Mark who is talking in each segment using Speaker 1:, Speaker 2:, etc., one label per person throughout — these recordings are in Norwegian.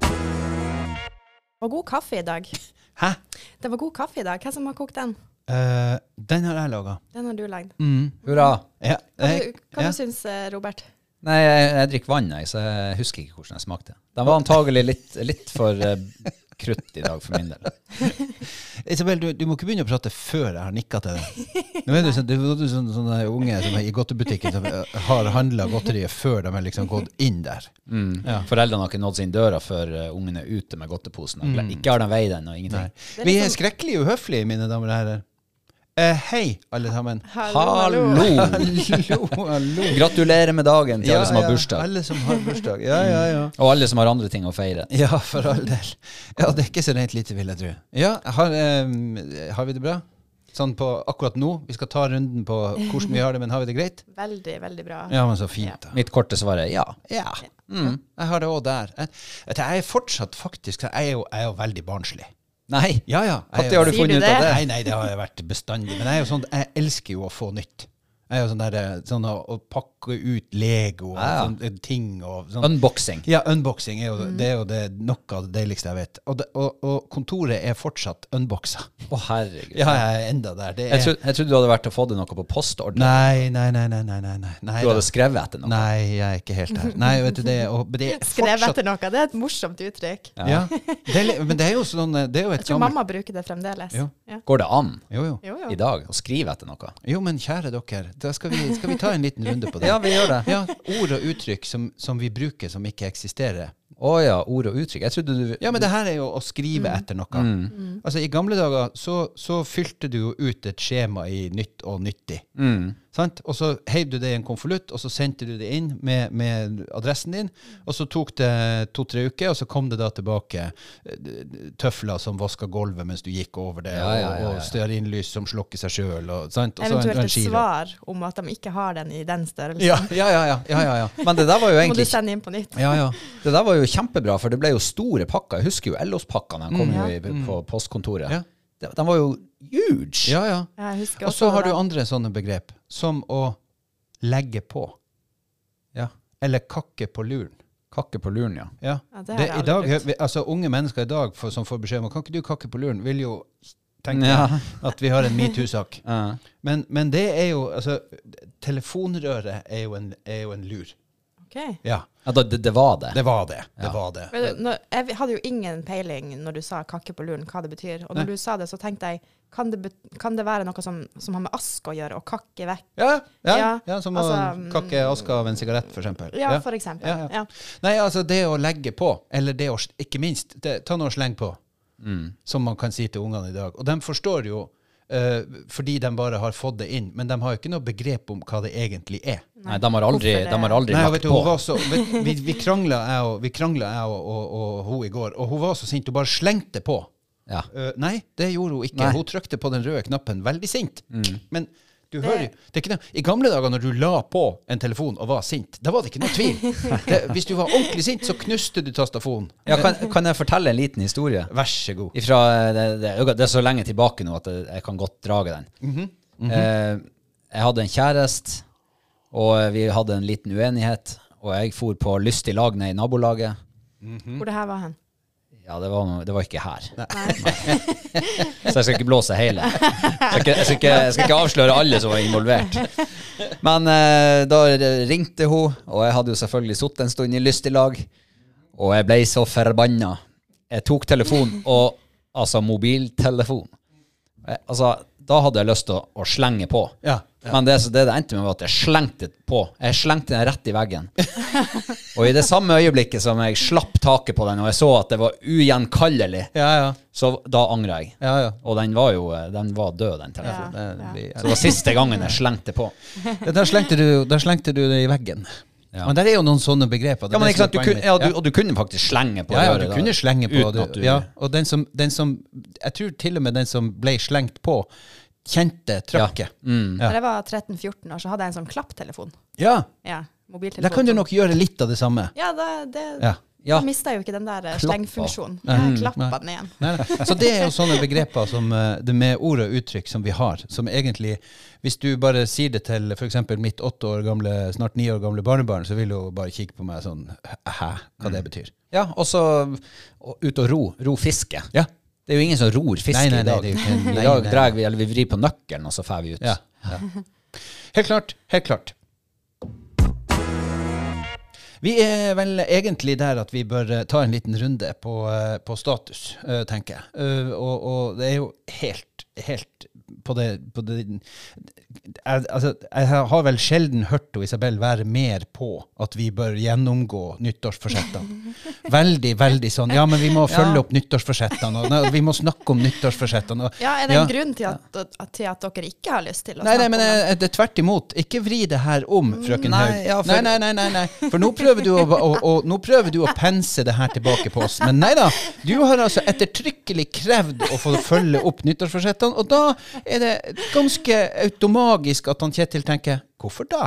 Speaker 1: Det var god kaffe i dag.
Speaker 2: Hæ?
Speaker 1: Det var god kaffe i dag. Hvem som har kokt den?
Speaker 2: Eh, den har jeg laga.
Speaker 1: Den har du lagd.
Speaker 3: Hurra.
Speaker 2: Ja,
Speaker 1: Hva,
Speaker 2: jeg-
Speaker 1: du, hva
Speaker 2: ja.
Speaker 1: du syns du, Robert?
Speaker 3: Nei, jeg, jeg drikker vann, jeg, så jeg husker ikke hvordan jeg smakte. Den var antagelig litt, litt for eh, krutt i dag for min del.
Speaker 2: Isabel, du, du må ikke begynne å prate før jeg har nikka til deg. Nå er du sånn, du, du, er sånn, sånne unge som er i godtebutikken som eh, har handla godteriet før de har liksom gått inn der.
Speaker 3: Foreldrene har ikke nådd sin døra før eh, ungen er ute med godteposen. og gle- Ikke har de veid den og
Speaker 2: Nei.
Speaker 3: ingenting.
Speaker 1: Det er
Speaker 2: Vi
Speaker 1: litt
Speaker 2: er
Speaker 1: sånn-
Speaker 2: skrekkelig uhøflige, mine damer og herrer. Eh, hei, alle sammen.
Speaker 3: Hallo!
Speaker 2: Hallo, hallo.
Speaker 3: Gratulerer med dagen til alle som har bursdag.
Speaker 2: Alle som har bursdag. Ja, ja, ja.
Speaker 3: Og alle som har andre ting å feire.
Speaker 2: Ja, for all del. Ja, det er ikke så rent lite, vil jeg tro. Ja, har, eh, har vi det bra? Sånn på akkurat nå. Vi skal ta runden på hvordan vi har det, men har vi det greit?
Speaker 1: Veldig, veldig bra.
Speaker 2: Ja, men så fint, da.
Speaker 3: Mitt korte svar er ja.
Speaker 2: Ja. Mm. Jeg har det òg der. Jeg, vet du, jeg er fortsatt faktisk Jeg er jo, jeg er jo veldig barnslig.
Speaker 3: Nei.
Speaker 2: Ja, ja. jeg er
Speaker 3: Når
Speaker 2: jo-
Speaker 3: har du
Speaker 1: Sier du
Speaker 3: funnet ut av det?
Speaker 2: Nei, nei, det har jeg vært bestandig. Men jeg er jo sånn, jeg elsker jo å få nytt. Jeg er jo sånn der, eh, sånn å, å pakke ut Lego og
Speaker 3: Ja, ja.
Speaker 2: sånn, eh, ting og sånn.
Speaker 3: Unboxing.
Speaker 2: Ja, unboxing er jo, det er jo det, noe av det deiligste jeg vet. Og, det, og, og kontoret er fortsatt unboxa.
Speaker 3: Å, herregud.
Speaker 2: Ja, jeg er enda der. Det
Speaker 3: Jeg
Speaker 2: er,
Speaker 3: trodde, jeg trodde du hadde vært og fått noe på postordre.
Speaker 2: nei, nei, nei, nei, nei, nei, nei. nei
Speaker 3: Du
Speaker 2: da.
Speaker 3: hadde skrevet etter noe.
Speaker 2: Nei, jeg er ikke helt der. Nei, vet du det, og det er
Speaker 1: Skrev
Speaker 2: fortsatt-
Speaker 1: etter noe. Det er et morsomt uttrykk.
Speaker 2: Ja. Det er, li- men det er jo sånn eh, Det er jo
Speaker 1: Jeg
Speaker 2: et
Speaker 1: tror
Speaker 2: gammelt
Speaker 1: mamma bruker det fremdeles.
Speaker 2: Jo.
Speaker 1: Ja.
Speaker 3: Går det an
Speaker 2: Jo, jo.
Speaker 1: Jo,
Speaker 3: i
Speaker 1: jo.
Speaker 3: dag å skrive etter noe?
Speaker 2: Jo, men kjære dere, da skal vi, skal vi ta en liten runde på det.
Speaker 3: Ja, vi gjør det.
Speaker 2: Ja, ord og uttrykk som, som vi bruker som ikke eksisterer.
Speaker 3: Å ja, ord og uttrykk. Jeg trodde du
Speaker 2: Ja, men det her er jo å skrive
Speaker 1: Mm.
Speaker 2: etter noe.
Speaker 3: Mm.
Speaker 2: Altså, I gamle dager så, så fylte du jo ut et skjema i nytt og nyttig.
Speaker 3: Mm.
Speaker 2: Sant? Og så heiv du det i en konvolutt, og så sendte du det inn med, med adressen din. Og så tok det to-tre uker, og så kom det da tilbake eh, tøfler som vaska gulvet mens du gikk over det,
Speaker 3: Ja, ja, ja,
Speaker 2: og,
Speaker 3: ja.
Speaker 2: og stearinlys som slukker seg sjøl, og, sant? og så en,
Speaker 1: Eventuelt
Speaker 2: en
Speaker 1: et
Speaker 2: giro.
Speaker 1: svar om at de ikke har den i den størrelsen.
Speaker 2: Ja, ja, ja. ja, ja, ja, ja.
Speaker 3: Men det der var
Speaker 1: Så
Speaker 3: jo
Speaker 1: Må du
Speaker 3: egentlig
Speaker 1: sende inn på nytt.
Speaker 2: ja, ja.
Speaker 3: Det der var jo kjempebra, for det ble jo store pakker. Jeg husker jo LOS-pakkene. De kom
Speaker 1: Mm.
Speaker 3: jo i, på postkontoret.
Speaker 2: Ja.
Speaker 3: De, de var jo huge.
Speaker 2: ja, ja.
Speaker 1: Jeg husker
Speaker 2: Og så
Speaker 1: også
Speaker 2: har
Speaker 1: det.
Speaker 2: du andre sånne begrep, som å legge på.
Speaker 3: Ja.
Speaker 2: Eller kakke på luren.
Speaker 3: Kakke på luren, ja.
Speaker 2: Ja.
Speaker 1: Ja, det har
Speaker 2: det
Speaker 1: jeg
Speaker 2: i
Speaker 1: aldri
Speaker 2: dag,
Speaker 1: brukt.
Speaker 2: vi, altså Unge mennesker i dag får, som får beskjed om kan ikke du kakke på luren, vil jo tenke
Speaker 3: Ja.
Speaker 2: at vi har en metoo-sak.
Speaker 3: Ja.
Speaker 2: Men, men det er jo altså, Telefonrøret er jo en, er jo en lur.
Speaker 1: Ok.
Speaker 2: Ja,
Speaker 3: Ja, da, det, det var det.
Speaker 2: det var det. Det
Speaker 3: Ja.
Speaker 2: var det.
Speaker 1: Men nå- Jeg hadde jo ingen peiling når du sa 'kakke på luren' hva det betyr. Og når du sa det, så tenkte jeg kan det, bet- kan det være noe som, som har med ask å gjøre, å kakke vekk?
Speaker 2: Ja, ja, ja,
Speaker 1: Ja,
Speaker 2: som å
Speaker 1: altså,
Speaker 2: kakke aska av en sigarett, for eksempel.
Speaker 1: Ja, for eksempel.
Speaker 2: Ja, ja.
Speaker 1: Ja.
Speaker 2: Nei, altså det å legge på, eller det å s- ikke minst, det, ta noe sleng på,
Speaker 3: Mm.
Speaker 2: som man kan si til ungene i dag. Og de forstår jo, eh, fordi de bare har fått det inn, men de har jo ikke noe begrep om hva det egentlig er.
Speaker 3: Nei, de har aldri,
Speaker 1: Hvorfor det?
Speaker 3: de har aldri
Speaker 2: Nei, vet
Speaker 3: lagt
Speaker 2: du,
Speaker 3: på.
Speaker 2: hun var så, vet, vi, vi krangla, jeg og, vi krangla, jeg og, og, og hun i går, og hun var så sint, hun bare slengte på.
Speaker 3: Ja.
Speaker 2: Eh, nei, Mm. det gjorde hun ikke.
Speaker 3: Nei.
Speaker 2: Hun trykte på den røde knappen, veldig sint. Men du
Speaker 1: Det-
Speaker 2: hører jo det er ikke noe, I gamle dager når du la på en telefon og var sint, da var det ikke noe tvil. Det, hvis du var ordentlig sint, så knuste du tastafonen.
Speaker 3: Ja, kan, kan jeg fortelle en liten historie?
Speaker 2: Vær så god.
Speaker 3: Ifra, det, det, det er så lenge tilbake nå at jeg, jeg kan godt drage den.
Speaker 2: Mhm.
Speaker 3: eh, jeg hadde en kjæreste, og vi hadde en liten uenighet. Og jeg for på lystig lag ned i nabolaget.
Speaker 2: Mm.
Speaker 1: Hvor det her var hen?
Speaker 3: Ja, det var, noe- det var ikke her. så jeg skal ikke blåse hele. Jeg skal ikke, jeg skal ikke, jeg skal ikke avsløre alle som var involvert. Men eh, da ringte hun, og jeg hadde jo selvfølgelig sittet en stund i lyst i lag. Og jeg ble så forbanna. Jeg tok telefonen, og altså mobiltelefon. Jeg, altså, da hadde jeg lyst til å, å slenge på.
Speaker 2: Ja,
Speaker 3: Men det, så det det endte med, var at jeg slengte på. Jeg slengte den rett i veggen. og i det samme øyeblikket som jeg slapp taket på den, og jeg så at det var ugjenkallelig,
Speaker 2: Ja, ja.
Speaker 3: så da angra jeg.
Speaker 2: ja, ja.
Speaker 3: Og den var jo eh, den var død, den telefonen.
Speaker 2: Det
Speaker 1: Ja.
Speaker 2: blir-
Speaker 3: Så det var siste gangen jeg slengte på.
Speaker 2: Ja, Der slengte du, der slengte du det i veggen.
Speaker 3: Ja.
Speaker 2: Men der er jo noen sånne begreper. det er
Speaker 3: Ja, men
Speaker 2: det
Speaker 3: ikke
Speaker 2: som
Speaker 3: sant, du
Speaker 2: er
Speaker 3: kunne,
Speaker 2: poenget
Speaker 3: ja,
Speaker 2: mitt.
Speaker 3: du, Og du kunne faktisk slenge på
Speaker 2: Ja, ja,
Speaker 3: røret
Speaker 2: du
Speaker 3: da,
Speaker 2: kunne slenge på
Speaker 3: uten
Speaker 2: det.
Speaker 3: at du-
Speaker 2: Ja, og den som, den som Jeg tror til og med den som ble slengt på, kjente trøkket. Ja. Mm.
Speaker 1: Når jeg var 13-14 år, så hadde jeg en sånn klapptelefon.
Speaker 2: Ja.
Speaker 1: Ja. mobiltelefon.
Speaker 2: Da kan du nok gjøre litt av det samme.
Speaker 1: Ja, da, det,
Speaker 2: Ja. Mm,
Speaker 3: Ja.
Speaker 1: da mister jeg jo ikke den der eh,
Speaker 3: Klappa.
Speaker 1: slengfunksjonen. Jeg
Speaker 2: Nei.
Speaker 1: klapper den igjen.
Speaker 2: Nei, nei. Så det er jo sånne begreper som, eh, det med ord og uttrykk som vi har, som egentlig Hvis du bare sier det til f.eks. mitt åtte år gamle, snart ni år gamle barnebarn, så vil hun bare kikke på meg sånn Hæ? Hva
Speaker 3: Mm.
Speaker 2: det betyr?
Speaker 3: Ja, og så og ut og ro. Ro fiske.
Speaker 2: Ja.
Speaker 3: Det er jo ingen som ror fiske
Speaker 2: Nei, nei,
Speaker 3: i
Speaker 2: nei,
Speaker 3: dag.
Speaker 2: det er jo ikke en- nei,
Speaker 3: I dag
Speaker 2: nei.
Speaker 3: drar vi, eller vi vrir på nøkkelen, og så får vi ut.
Speaker 2: Ja. Helt klart. Helt klart. Vi er vel egentlig der at vi bør eh, ta en liten runde på, eh, på status, eh, tenker jeg. Eh, Og, og det er jo helt, helt på det, på det jeg, altså, jeg har vel sjelden hørt og Isabel være mer på at vi bør gjennomgå nyttårsforsettene. Veldig, veldig sånn. Ja, men vi må følge
Speaker 3: Ja.
Speaker 2: opp nyttårsforsettene, og nei, vi må snakke om nyttårsforsettene. og-
Speaker 1: Ja, Er det en grunn til at, at, til at dere ikke har lyst til å
Speaker 2: Nei, nei, men
Speaker 1: om det?
Speaker 2: eh, det er tvert imot. Ikke vri det her om, frøken
Speaker 3: Nei,
Speaker 2: Haug.
Speaker 3: ja, for-
Speaker 2: Nei, nei, nei, nei, nei. For nå prøver, du å, å, å, nå prøver du å pense det her tilbake på oss. Men nei da. Du har altså ettertrykkelig krevd å få følge opp nyttårsforsettene, og da er det ganske automagisk at han Kjetil tenker Hvorfor da?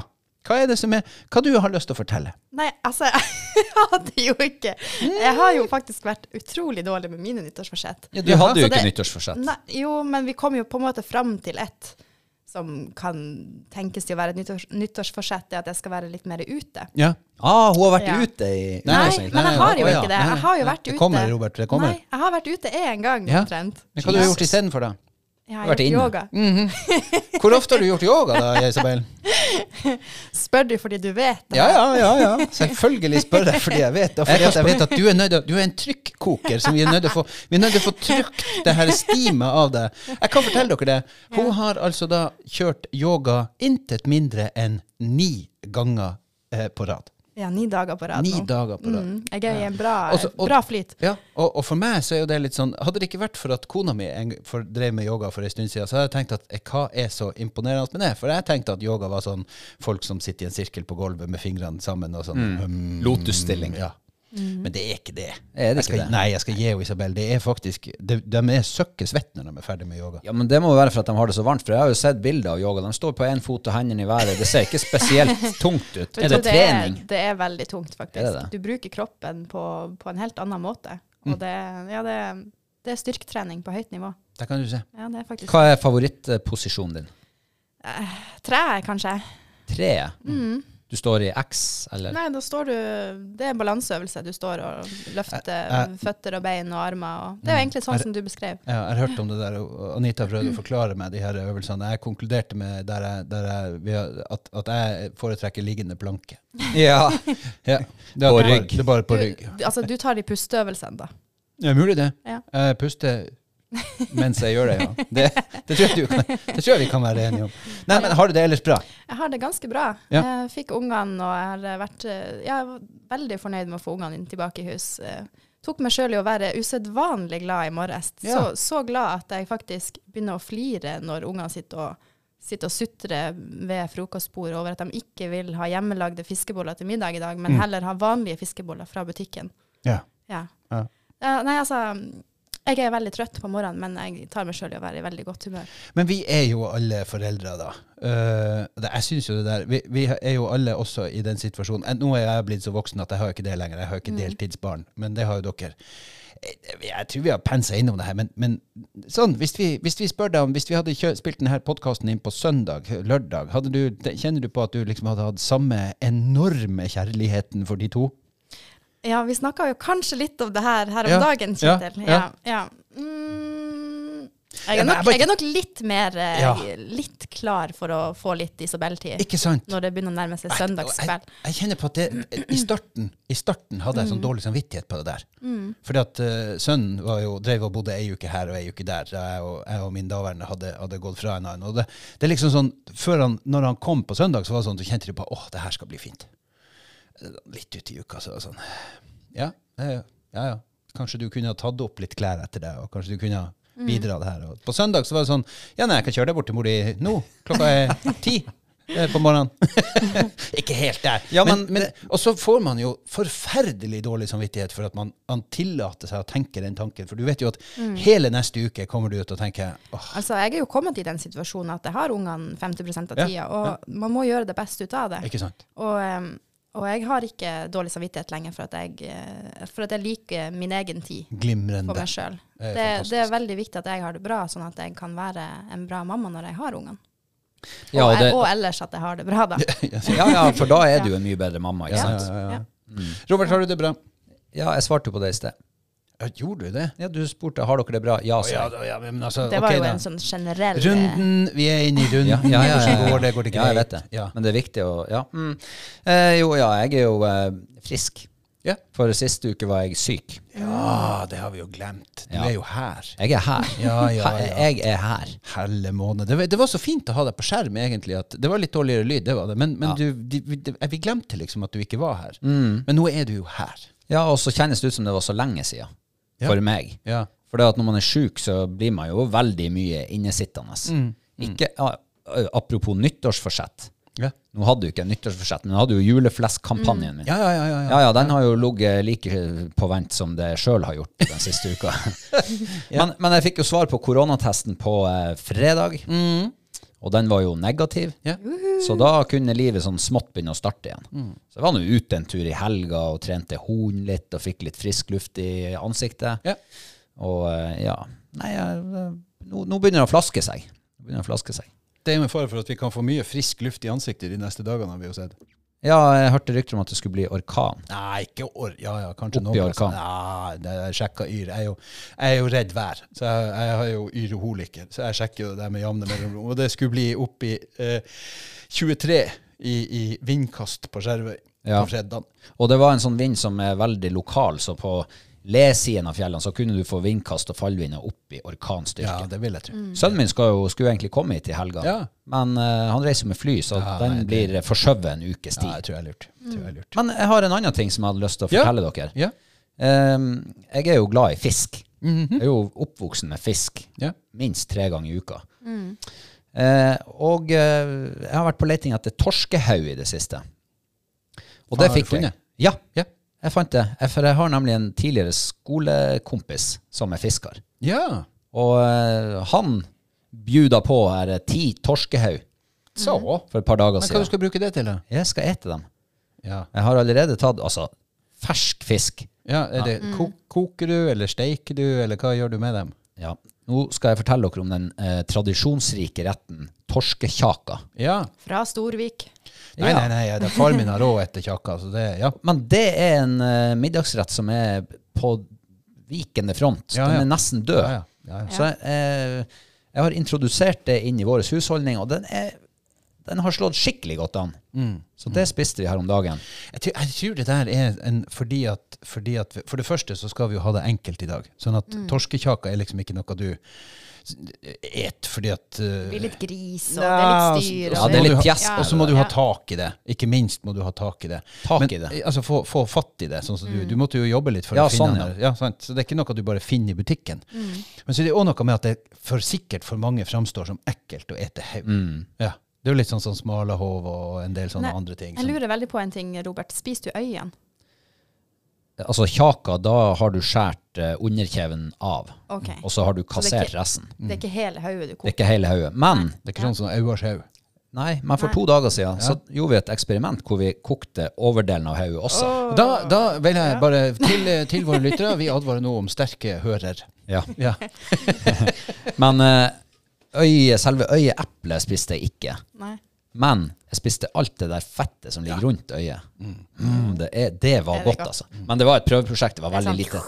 Speaker 2: Hva er det som er Hva du har lyst til å fortelle?
Speaker 1: Nei, altså, jeg hadde jo ikke Jeg har jo faktisk vært utrolig dårlig med mine nyttårsforsett.
Speaker 3: Du hadde jo
Speaker 1: Så
Speaker 3: ikke
Speaker 1: altså det-
Speaker 3: nyttårsforsett.
Speaker 1: Nei, jo, men vi kom jo på en måte fram til ett som kan tenkes til å være et nyttårs, nyttårsforsett, det at jeg skal være litt mer ute.
Speaker 2: Ja.
Speaker 3: Ah, hun har vært
Speaker 1: Ja.
Speaker 3: ute i
Speaker 1: Nei,
Speaker 2: nei,
Speaker 1: men jeg
Speaker 2: nei,
Speaker 1: har jo
Speaker 2: å, ja.
Speaker 1: ikke det.
Speaker 2: Nei,
Speaker 1: Jeg har jo
Speaker 2: nei,
Speaker 1: vært
Speaker 2: det
Speaker 1: ute.
Speaker 2: kommer, Robert, det kommer.
Speaker 1: Nei, jeg har vært ute én gang,
Speaker 2: Ja.
Speaker 1: omtrent.
Speaker 2: Men hva har du
Speaker 1: Jesus.
Speaker 2: gjort istedenfor, da?
Speaker 1: Jeg
Speaker 3: Du har
Speaker 1: har
Speaker 3: vært
Speaker 1: gjort
Speaker 3: inne.
Speaker 1: yoga.
Speaker 2: Mm. Hvor ofte har du gjort yoga, da, Isabel?
Speaker 1: Spør du fordi du vet det?
Speaker 2: Ja, ja, ja, ja. Selvfølgelig spør jeg fordi jeg vet det. Fordi at jeg vet at du er, nødt til å- du er en trykkoker som vi er nødt til å få Vi er nødt til å få trykt det her stimet av deg. Jeg kan fortelle dere det. Hun har altså da kjørt yoga intet mindre enn ni ganger eh, på rad.
Speaker 1: Ja, ni dager på rad
Speaker 2: Ni
Speaker 1: nå.
Speaker 2: dager på rad.
Speaker 1: Mm, jeg er i en bra,
Speaker 2: Og så- og-
Speaker 1: bra flyt.
Speaker 2: Ja, og, og for meg så er jo det litt sånn Hadde det ikke vært for at kona mi en, for, drev med yoga for en stund siden, så hadde jeg tenkt at eh, hva er så imponerende med det? For jeg tenkte at yoga var sånn folk som sitter i en sirkel på gulvet med fingrene sammen og sånn hmm,
Speaker 3: Lotusstilling.
Speaker 2: Ja.
Speaker 1: Mm.
Speaker 2: Men det er ikke det.
Speaker 3: Er det
Speaker 2: jeg skal,
Speaker 3: ikke det?
Speaker 2: Nei, jeg skal gi henne Isabel. Det er faktisk, de, de er søkkesvette når de er ferdig med yoga.
Speaker 3: Ja, men Det må jo være for at de har det så varmt. For Jeg har jo sett bilder av yoga. De står på én fot og hendene i været. Det ser ikke spesielt tungt ut.
Speaker 1: Vet du,
Speaker 3: Er det trening?
Speaker 1: Er, det er veldig tungt, faktisk.
Speaker 3: Er det det?
Speaker 1: Du bruker kroppen på, på en helt annen måte.
Speaker 2: Mm.
Speaker 1: Og det, ja, det, det er styrketrening på høyt nivå.
Speaker 2: Der kan du se.
Speaker 1: Ja, det er faktisk
Speaker 3: Hva er favorittposisjonen din?
Speaker 1: Treet, kanskje.
Speaker 3: Treet?
Speaker 2: Mm.
Speaker 3: Du står i X, eller?
Speaker 1: Mm. Nei, da står du Det er en balanseøvelse. Du står og løfter
Speaker 2: Eh,
Speaker 1: føtter og bein og armer. Og, det er jo
Speaker 2: Mm.
Speaker 1: egentlig sånn som du beskrev.
Speaker 2: Ja, jeg har hørt om det der, og Anita prøvde å forklare meg de her øvelsene. Jeg konkluderte med der jeg, der jeg, vi har- at, at jeg foretrekker liggende planke.
Speaker 3: Ja.
Speaker 2: Ja, det er
Speaker 3: På
Speaker 2: bare-
Speaker 3: rygg.
Speaker 2: Det er bare på
Speaker 1: Du,
Speaker 2: rygg.
Speaker 1: altså, du tar de pusteøvelsene, da.
Speaker 2: Det er mulig, det.
Speaker 1: Ja.
Speaker 2: Jeg puster mens jeg gjør det, ja. Det, det, tror, jeg du kan, det tror jeg vi kan være enige om. Nei, men har du det ellers bra?
Speaker 1: Jeg har det ganske bra.
Speaker 2: Ja.
Speaker 1: Jeg fikk ungene, og jeg har vært eh, ja, jeg var veldig fornøyd med å få ungene inn tilbake i hus. Eh, Tok meg sjøl i å være usedvanlig glad i morges.
Speaker 2: Ja.
Speaker 1: Så, så glad at jeg faktisk begynner å flire når ungene sitter og, sitter og sutrer ved frokostbordet over at de ikke vil ha hjemmelagde fiskeboller til middag i dag, men heller ha vanlige fiskeboller fra butikken.
Speaker 2: Mm. Ja.
Speaker 1: Ja.
Speaker 2: Ja.
Speaker 1: Eh, nei, altså, jeg er veldig trøtt på morgenen, men jeg tar meg sjøl i å være i veldig godt humør.
Speaker 2: Men vi er jo alle foreldre, da. Eh, det, jeg synes jo det der vi, vi er jo alle også i den situasjonen. Eh, Nå er jeg blitt så voksen at jeg har ikke det lenger. Jeg har ikke deltidsbarn, men det har jo dere. Eh, Jeg tror vi har pensa innom det her, men, men sånn, hvis vi, hvis vi spør deg om Hvis vi hadde kjø spilt denne podkasten inn på søndag, lørdag, hadde du, kjenner du på at du liksom hadde hatt samme enorme kjærligheten for de to?
Speaker 1: Ja, vi snakka jo kanskje litt om det her her om
Speaker 2: Ja,
Speaker 1: dagen,
Speaker 2: ja,
Speaker 1: Kjetil. Ja,
Speaker 2: ja.
Speaker 1: ja. Mm,
Speaker 2: Ja,
Speaker 1: jeg, er
Speaker 2: men jeg
Speaker 1: nok,
Speaker 2: bare-
Speaker 1: jeg er nok litt mer eh,
Speaker 2: Ja.
Speaker 1: litt klar for å få litt Isabel-tid
Speaker 2: Ikke sant?
Speaker 1: når det begynner å nærme seg
Speaker 2: Jeg,
Speaker 1: søndagskveld.
Speaker 2: jeg kjenner på at det, i, starten, i starten hadde jeg sånn dårlig samvittighet på det der. Fordi at eh, sønnen var jo, drev og bodde ei uke her og ei uke der. Da jeg og, jeg og min daværende hadde, hadde gått fra en annen. Og det, det er liksom sånn, før han, når han kom på søndag, så var det sånn, du kjente du bare, åh, det her skal bli fint. Eh, Litt ut i uka, så var det sånn, ja, det, er jo- ja, ja. Kanskje du kunne ha tatt opp litt klær etter det, og kanskje du kunne ha bidra det her. Og på søndag så var det sånn, ja, nei, jeg kan kjøre deg bort til mor di nå, klokka er ti eh, på morgenen. Ikke helt der.
Speaker 3: Ja,
Speaker 2: men,
Speaker 3: men
Speaker 2: men, og så får man jo forferdelig dårlig samvittighet for at man, man tillater seg å tenke den tanken. For du vet jo at
Speaker 1: Mm.
Speaker 2: hele neste uke kommer du ut og tenker åh,
Speaker 1: Altså, jeg er jo kommet i den situasjonen at jeg har ungene 50 av
Speaker 2: Ja,
Speaker 1: tida, og man må gjøre det best ut av det.
Speaker 2: ikke sant?
Speaker 1: Og em, Og jeg har ikke dårlig samvittighet lenger for at jeg, eh, for at jeg liker min egen tid for
Speaker 2: Glimrende.
Speaker 1: meg sjøl.
Speaker 2: Det er
Speaker 1: Det, det
Speaker 2: fantastisk.
Speaker 1: er veldig viktig at jeg har det bra, sånn at jeg kan være en bra mamma når jeg har ungene. Og,
Speaker 3: Ja, og
Speaker 1: jeg-
Speaker 3: det,
Speaker 1: og ellers at jeg har det bra, da.
Speaker 3: ja, ja, for da er du en mye bedre mamma, ikke
Speaker 2: Ja,
Speaker 3: sant?
Speaker 2: ja, ja, ja.
Speaker 1: Ja.
Speaker 3: Mm.
Speaker 2: Robert, har du det bra?
Speaker 3: Ja, jeg svarte jo på det i sted.
Speaker 2: Ja, gjorde du det?
Speaker 3: Ja, du spurte har dere det bra. Ja,
Speaker 2: Å,
Speaker 3: sa
Speaker 2: ja,
Speaker 3: jeg.
Speaker 2: da, ja, men altså,
Speaker 1: Det var
Speaker 2: ok
Speaker 1: jo
Speaker 2: da.
Speaker 1: en sånn generell
Speaker 2: Runden, vi er inne i runden.
Speaker 3: Ja, ja, ja, ja,
Speaker 2: Hvordan
Speaker 3: ja.
Speaker 2: Går det, går det greit?
Speaker 3: Ja, jeg vet det.
Speaker 2: Ja.
Speaker 3: Men det er viktig å Ja. Mm. Eh, jo, ja, jeg er jo eh, frisk.
Speaker 2: Ja.
Speaker 3: For siste uke var jeg syk.
Speaker 2: Ja, det har vi jo glemt. Du
Speaker 3: Ja.
Speaker 2: er jo her.
Speaker 3: Jeg er her.
Speaker 2: Ja, ja,
Speaker 3: Her-
Speaker 2: ja.
Speaker 3: Jeg er her.
Speaker 2: Helle måned. Det var, det var så fint å ha deg på skjerm, egentlig. At det var litt dårligere lyd, det var det. Men, men
Speaker 3: Ja.
Speaker 2: du, de, vi- de, vi glemte liksom at du ikke var her. Men nå er du jo her.
Speaker 3: Ja, og så kjennes det ut som det var så lenge siden
Speaker 2: Ja.
Speaker 3: for meg.
Speaker 2: Ja.
Speaker 3: For det at når man er syk, så blir man jo veldig mye innesittende.
Speaker 2: Mm.
Speaker 3: Ikke, ja, apropos nyttårsforsett.
Speaker 2: Ja,
Speaker 3: Nå hadde du ikke nyttårsforsett, men du hadde jo julefleskkampanjen min.
Speaker 2: Mm. ja, ja. ja, ja, ja.
Speaker 3: Ja, ja, den har jo ligget like på vent som det sjøl har gjort den siste uka. men, men jeg fikk jo svar på koronatesten på eh, fredag, og den var jo negativ.
Speaker 2: Mm. Ja.
Speaker 3: Så da kunne livet sånn smått begynne å starte igjen. Så jeg var nå ute en tur i helga og trente horn litt og fikk litt frisk luft i ansiktet.
Speaker 2: Ja.
Speaker 3: Og eh, ja Nei, jeg, eh, nå, nå begynner det å flaske seg. Nå begynner det å flaske seg.
Speaker 2: Det er jo en fare for at vi kan få mye frisk luft i ansiktet de neste dagene, har vi jo sett.
Speaker 3: Ja, jeg hørte rykter om at det skulle bli orkan.
Speaker 2: Nei, ikke år... Ja, ja, kanskje
Speaker 3: Oppi
Speaker 2: noen
Speaker 3: orkan.
Speaker 2: plasser. Nei, det jeg sjekker yr. Jeg er jo, jeg er jo redd vær, så jeg, jeg har jo yroholiker. Så jeg sjekker jo det med jevne mellomrom. Og det skulle bli oppi eh, 23 i, i vindkast på Skjervøy
Speaker 3: Ja.
Speaker 2: på fredag.
Speaker 3: Og det var en sånn vind som er veldig lokal, så på lesiden av fjellene så kunne du få vindkast og fallvinder opp i
Speaker 2: Ja,
Speaker 3: orkanstyrke. Mm.
Speaker 2: det vil jeg tro.
Speaker 3: Sønnen min skal jo, skulle egentlig komme hit i helga,
Speaker 2: Ja.
Speaker 3: men eh, han reiser med fly, så
Speaker 2: Ja,
Speaker 3: den
Speaker 2: nei, det-
Speaker 3: blir forskjøvet en ukes
Speaker 2: Ja,
Speaker 3: tid.
Speaker 2: jeg tror jeg er lurt. Jeg tror jeg er lurt.
Speaker 3: men jeg har en annen ting som jeg hadde lyst til å
Speaker 2: Ja.
Speaker 3: fortelle dere.
Speaker 2: Mm. Ja.
Speaker 3: Ehm, jeg er jo glad i fisk. Jeg er jo oppvoksen med fisk
Speaker 2: Mhm. Ja.
Speaker 3: minst tre ganger i uka. Eh, og eh, jeg har vært på leting etter torskehaug i det siste. Og
Speaker 2: Faen, har
Speaker 3: det
Speaker 2: du
Speaker 3: fikk jeg.
Speaker 2: funnet?
Speaker 3: Ja, ja, jeg fant det. Jeg, for jeg har nemlig en tidligere skolekompis som er fisker.
Speaker 2: ja.
Speaker 3: Og eh, han bjuda på her eh, ti torskehaug
Speaker 2: Så.
Speaker 3: for et par dager
Speaker 2: Mm. Men hva
Speaker 3: siden.
Speaker 2: du skal bruke det til, da?
Speaker 3: Jeg skal ete dem.
Speaker 2: Ja.
Speaker 3: Jeg har allerede tatt altså, fersk fisk.
Speaker 2: ja er det, ko koker du, eller steiker du, eller hva gjør du med dem?
Speaker 3: Ja. Nå skal jeg fortelle dere om den eh, tradisjonsrike retten torskekjaka.
Speaker 2: Ja.
Speaker 1: fra Storvik.
Speaker 2: Nei,
Speaker 3: Ja.
Speaker 2: nei, nei, det er far min har råd etter kjakka, så det Ja.
Speaker 3: Men det er en eh, middagsrett som er på vikende front.
Speaker 2: Ja, ja.
Speaker 3: Den er nesten død.
Speaker 2: Ja, ja. Ja, ja.
Speaker 3: Så jeg, eh, jeg har introdusert det inn i vår husholdning, og den, er, den har slått skikkelig godt an.
Speaker 2: Mm.
Speaker 3: Så det spiste vi her om dagen.
Speaker 2: Jeg tror, jeg tror det der er en, fordi, at, fordi at For det første så skal vi jo ha det enkelt i dag. Sånn at torskekjaka er liksom ikke noe du s- et fordi at
Speaker 1: Det
Speaker 2: eh,
Speaker 1: blir litt gris, og
Speaker 2: Nei,
Speaker 1: det er litt styr.
Speaker 2: altså,
Speaker 3: Ja,
Speaker 1: og
Speaker 3: det er
Speaker 2: må
Speaker 3: litt
Speaker 2: du ha-
Speaker 3: pjask.
Speaker 1: ja.
Speaker 2: Og så må du ha
Speaker 1: Ja.
Speaker 2: tak i det. Ikke minst må du ha tak i det.
Speaker 3: Tak
Speaker 2: Men,
Speaker 3: i det.
Speaker 2: eh, Altså få, få fatt i det. Sånn som
Speaker 1: Mm.
Speaker 2: du, du måtte jo jobbe litt for
Speaker 3: Ja,
Speaker 2: å finne
Speaker 3: sånn,
Speaker 2: den der. ja. sant? Så det er ikke noe du bare finner i butikken.
Speaker 1: Mm.
Speaker 2: Men så er det òg noe med at det for sikkert for mange framstår som ekkelt å ete haug.
Speaker 3: Mm.
Speaker 2: Ja. Det er jo litt sånn sånn smalahove og en del sånne
Speaker 1: Nei,
Speaker 2: andre ting.
Speaker 1: Jeg
Speaker 2: som-
Speaker 1: lurer veldig på en ting, Robert. Spiser du øyene?
Speaker 3: Altså kjaka, da har du skåret eh, underkjeven av,
Speaker 1: Ok.
Speaker 2: Mm.
Speaker 3: og så har du
Speaker 1: Så det er
Speaker 3: kassert
Speaker 1: ikke-
Speaker 3: resten.
Speaker 1: Det er ikke hele hodet du
Speaker 3: Det er
Speaker 1: koker?
Speaker 3: ikke hele hodet. Men,
Speaker 2: Det er ikke sånn som Auars haug.
Speaker 3: nei, men for to dager siden så gjorde vi et eksperiment hvor vi kokte overdelen av hodet også.
Speaker 2: Da, da vil jeg bare til, eh, til våre lyttere, vi advarer nå om sterke hører.
Speaker 3: Ja.
Speaker 2: Ja.
Speaker 3: Men eh, øye, selve øyeeplet spiste jeg ikke.
Speaker 1: Nei.
Speaker 3: Men jeg spiste alt det der fettet som ligger rundt øyet. Mm, det, er, det
Speaker 1: Er
Speaker 3: var
Speaker 1: det
Speaker 3: godt,
Speaker 1: godt?
Speaker 3: altså. Men det var et prøveprosjekt. Det var
Speaker 1: Det er
Speaker 3: veldig lite.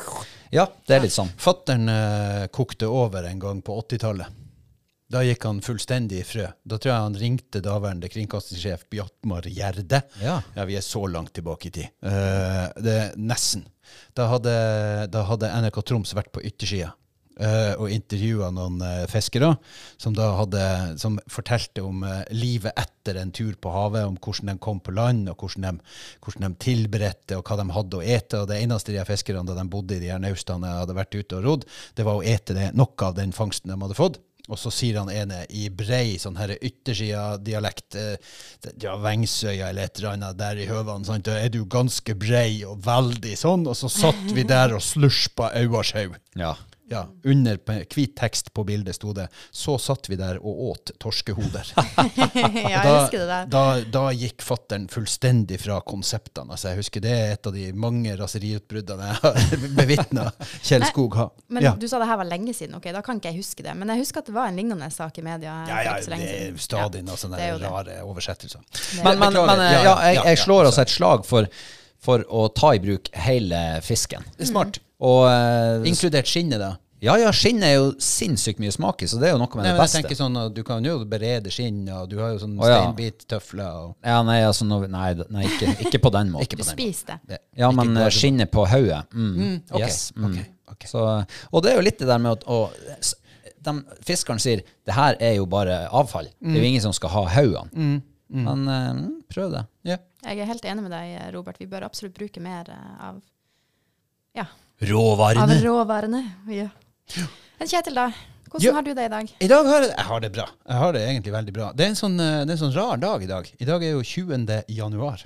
Speaker 3: Ja, det er litt sånn.
Speaker 2: Fattern eh, kokte over en gang på 80-tallet. Da gikk han fullstendig i frø. Da tror jeg han ringte daværende kringkastingssjef Bjartmar Gjerde.
Speaker 3: Ja.
Speaker 2: vi er så langt tilbake i tid. Eh, det er nesten. Da hadde, da hadde NRK Troms vært på yttersida. eh, og intervjua noen eh, fiskere som da hadde, som fortalte om eh, livet etter en tur på havet, om hvordan de kom på land, og hvordan de, hvordan de tilberedte, og hva de hadde å ete. Og det eneste de her fiskerne da de bodde i de her naustene, hadde vært ute og rodd, det var å ete det, noe av den fangsten de hadde fått. Og så sier han ene i brei sånn her yttersida-dialekt, eh, ja, Vengsøya eller et eller annet der i høvene, sant? da er du ganske brei og veldig sånn, og så satt vi der og slurpa Auarshaug.
Speaker 3: Ja.
Speaker 2: Ja, under p- hvit tekst på bildet sto det 'Så satt vi der og åt torskehoder'.
Speaker 1: ja, jeg
Speaker 2: Da-
Speaker 1: husker det der.
Speaker 2: Da, da gikk fattern fullstendig fra konseptene. Altså, jeg husker det er et av de mange raseriutbruddene jeg har bevitna Kjell Skog ha.
Speaker 1: Men
Speaker 2: Ja.
Speaker 1: du sa det her var lenge siden, ok, da kan ikke jeg huske det. Men jeg husker at det var en lignende sak i media.
Speaker 2: Ja, ja,
Speaker 1: for ikke så
Speaker 2: det
Speaker 1: lenge
Speaker 2: er
Speaker 1: siden.
Speaker 2: stadig noen sånne
Speaker 1: det er jo det.
Speaker 2: rare oversettelser.
Speaker 3: Men, men,
Speaker 2: Beklager.
Speaker 3: men eh,
Speaker 2: Ja,
Speaker 3: ja,
Speaker 2: ja,
Speaker 3: jeg,
Speaker 2: ja,
Speaker 3: jeg
Speaker 2: ja,
Speaker 3: slår altså et slag for, for å ta i bruk hele fisken.
Speaker 2: Det er smart.
Speaker 3: Og eh,
Speaker 2: Inkludert skinnet, da.
Speaker 3: ja, ja, skinn er jo sinnssykt mye smak i, så det er jo noe
Speaker 2: Nei,
Speaker 3: med det
Speaker 2: men jeg
Speaker 3: beste.
Speaker 2: tenker sånn at Du kan jo berede skinn, og du har jo sånn
Speaker 3: Å, ja.
Speaker 2: steinbittøfler. og-
Speaker 3: Ja, nei, altså, nå- nei, d- nei ikke, ikke på den måten.
Speaker 1: Du spiser det.
Speaker 2: Det-
Speaker 3: Ja,
Speaker 2: ikke
Speaker 3: men
Speaker 2: gå-
Speaker 3: eh, skinnet på hodet. Mm.
Speaker 2: ok,
Speaker 3: Yes. Mm.
Speaker 2: ok, ok.
Speaker 3: Så, og det er jo litt det der med at å, s- de, Fiskeren sier det her er jo bare avfall. Det er
Speaker 2: Mm.
Speaker 3: jo ingen som skal ha hodene. Men eh, mm, prøv det.
Speaker 2: Ja.
Speaker 1: Jeg er helt enig med deg, Robert. Vi bør absolutt bruke mer eh, av, ja, av
Speaker 2: Råvarene.
Speaker 1: råvarene. Ja. Men Kjetil, da.
Speaker 2: Ja.
Speaker 1: Hvordan har du det i dag?
Speaker 2: I dag har jeg, jeg har det bra. Jeg har det egentlig veldig bra. Det er en sånn, eh, det er en sånn rar dag i dag. I dag er jo 20. januar.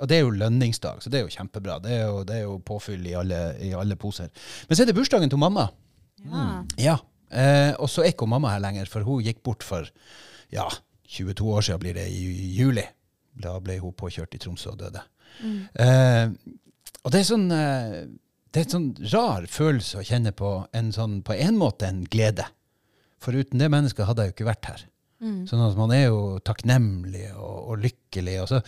Speaker 2: Og det er jo lønningsdag, så det er jo kjempebra. Det er jo, det er jo påfyll i alle, i alle poser. Men så er det bursdagen til mamma.
Speaker 1: Ja.
Speaker 2: Ja. Eh, og så er ikke hun mamma her lenger, for hun gikk bort for ja, 22 år siden blir det i juli. Da ble hun påkjørt i Tromsø og døde.
Speaker 1: mm,
Speaker 2: Eh, og det er sånn eh, det er en sånn rar følelse å kjenne på en sånn, på en måte en glede. For uten det mennesket hadde jeg jo ikke vært her. Sånn at man er jo takknemlig og, og lykkelig. Og så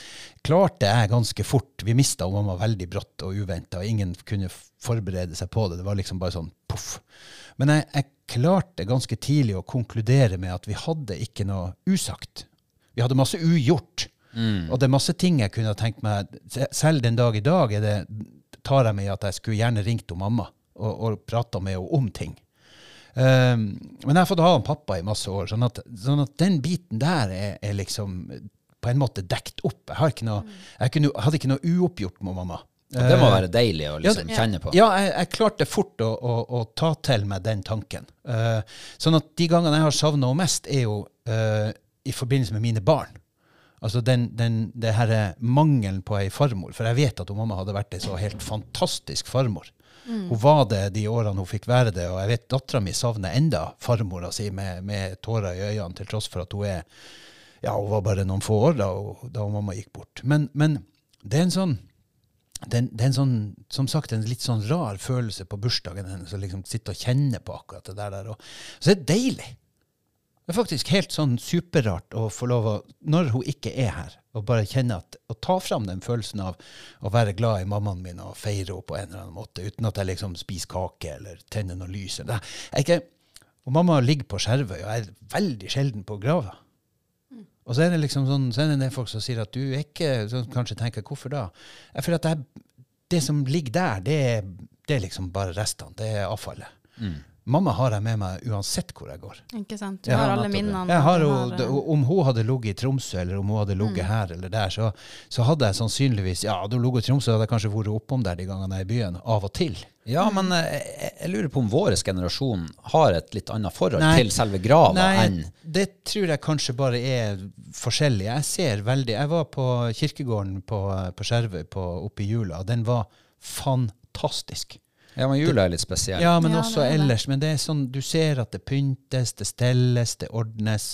Speaker 2: klarte jeg ganske fort. Vi mista mamma veldig brått og uventa, og ingen kunne f- forberede seg på det. Det var liksom bare sånn poff. Men jeg, jeg klarte ganske tidlig å konkludere med at vi hadde ikke noe usagt. Vi hadde masse ugjort.
Speaker 3: Mm.
Speaker 2: Og det er masse ting jeg kunne ha tenkt meg se- Selv den dag i dag er det, tar jeg meg i at jeg skulle gjerne ringt om mamma og, og prata med henne om ting. Um, men jeg har fått ha en pappa i masse år, sånn at, sånn at den biten der er, er liksom på en måte dekt opp. Jeg, har ikke noe, jeg kunne, hadde ikke noe uoppgjort med mamma.
Speaker 3: Og det må være deilig å liksom
Speaker 1: det-
Speaker 3: kjenne på.
Speaker 2: Eh, Ja, jeg, jeg klarte fort å, å, å ta til meg den tanken. Eh, sånn at de gangene jeg har savna henne mest, er jo eh, i forbindelse med mine barn. Altså den, den, det her eh, mangelen på ei farmor. For jeg vet at hun mamma hadde vært ei så helt fantastisk farmor. Hun var det de årene hun fikk være det, og jeg vet dattera mi savner enda farmora si med, med tårer i øynene, til tross for at hun er Ja, hun var bare noen få år da, hun- da hun mamma gikk bort. Men, men det er en sånn den, det er en sånn, som sagt, en litt sånn rar følelse på bursdagen hennes å liksom sitte og kjenne på akkurat det der. der og, så det er deilig. Det er faktisk helt sånn superrart å få lov å, når hun ikke er her, å bare kjenne at, å ta fram den følelsen av å være glad i mammaen min og feire henne på en eller annen måte, uten at jeg liksom spiser kake eller tenner noe lys. eller- Jeg er ikke, og mamma ligger på Skjervøy, og jeg er veldig sjelden på grava. Og så er det liksom sånn, så er det en del folk som sier at du er ikke som kanskje tenker, hvorfor da? Jeg føler at jeg, det som ligger der, det er, det er liksom bare restene, det er avfallet.
Speaker 3: Mm.
Speaker 2: Mamma har jeg med meg uansett hvor jeg går.
Speaker 1: Ikke sant? Du
Speaker 2: Ja,
Speaker 1: har alle
Speaker 3: nettopp, ja.
Speaker 1: minnene.
Speaker 2: Jeg har
Speaker 1: du
Speaker 2: jo,
Speaker 1: eh,
Speaker 2: d- om hun hadde ligget i Tromsø, eller om hun hadde ligget her eller der, så, så hadde jeg sannsynligvis Ja, hadde hun ligget i Tromsø, hadde jeg kanskje vært oppom der de gangene jeg er i byen, av og til.
Speaker 3: Ja, men eh, jeg, jeg lurer på om vår generasjon har et litt annet forhold
Speaker 2: Nei.
Speaker 3: til selve grava enn
Speaker 2: Nei, det tror jeg kanskje bare er forskjellig. Jeg ser veldig Jeg var på kirkegården på, på Skjervøy på, oppe i jula, og den var fantastisk.
Speaker 3: Ja, men jula er litt spesiell.
Speaker 2: Ja, men
Speaker 1: Ja,
Speaker 2: også
Speaker 1: det er det.
Speaker 2: ellers. Men det er sånn, du ser at det pyntes, det stelles, det ordnes.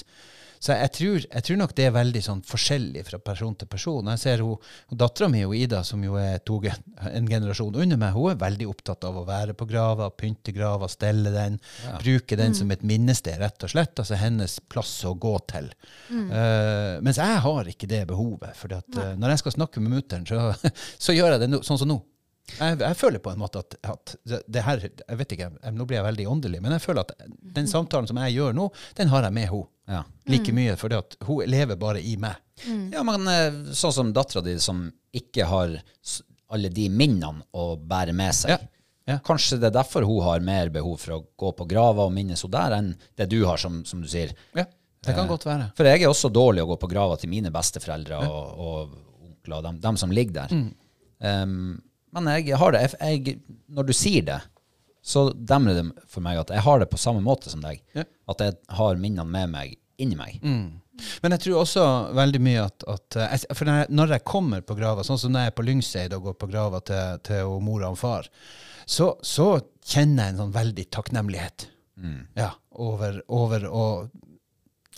Speaker 2: Så jeg tror, jeg tror nok det er veldig sånn forskjellig fra person til person. Jeg ser hun, hun Dattera mi, Ida, som jo er to, gen- en generasjon under meg, hun er veldig opptatt av å være på grava, pynte grava, stelle den, bruke den som et minnested, rett og slett. Altså hennes plass å gå til. Eh, mens jeg har ikke det behovet. For eh, når jeg skal snakke med mutter'n, så, så gjør jeg det nå- sånn som nå. Jeg, jeg føler på en måte at, at det- det her, jeg vet ikke, jeg- Nå blir jeg veldig åndelig, men jeg føler at den samtalen som jeg gjør nå, den har jeg med henne
Speaker 3: Ja.
Speaker 2: like mye. For hun lever bare i meg.
Speaker 3: Ja, men eh, sånn som dattera di, som ikke har s- alle de minnene å bære med seg.
Speaker 2: Ja. Ja.
Speaker 3: Kanskje det er derfor hun har mer behov for å gå på grava og minnes henne der, enn det du har, som, som du sier.
Speaker 2: Det kan godt være.
Speaker 3: For jeg er også dårlig å gå på grava til mine besteforeldre og, og onkler og dem, dem som ligger der.
Speaker 2: Mm.
Speaker 3: Um, men jeg har det jeg, jeg, Når du sier det, så demrer det for meg at jeg har det på samme måte som deg.
Speaker 2: Ja. Mm.
Speaker 3: At jeg har minnene med meg inni meg.
Speaker 2: Men jeg tror også veldig mye at, at eh, jeg- For når jeg, når jeg kommer på grava, sånn som når jeg er på Lyngseid og går på grava til, til og mora og far, så, så kjenner jeg en sånn veldig takknemlighet
Speaker 3: Mm.
Speaker 2: ja, over, over å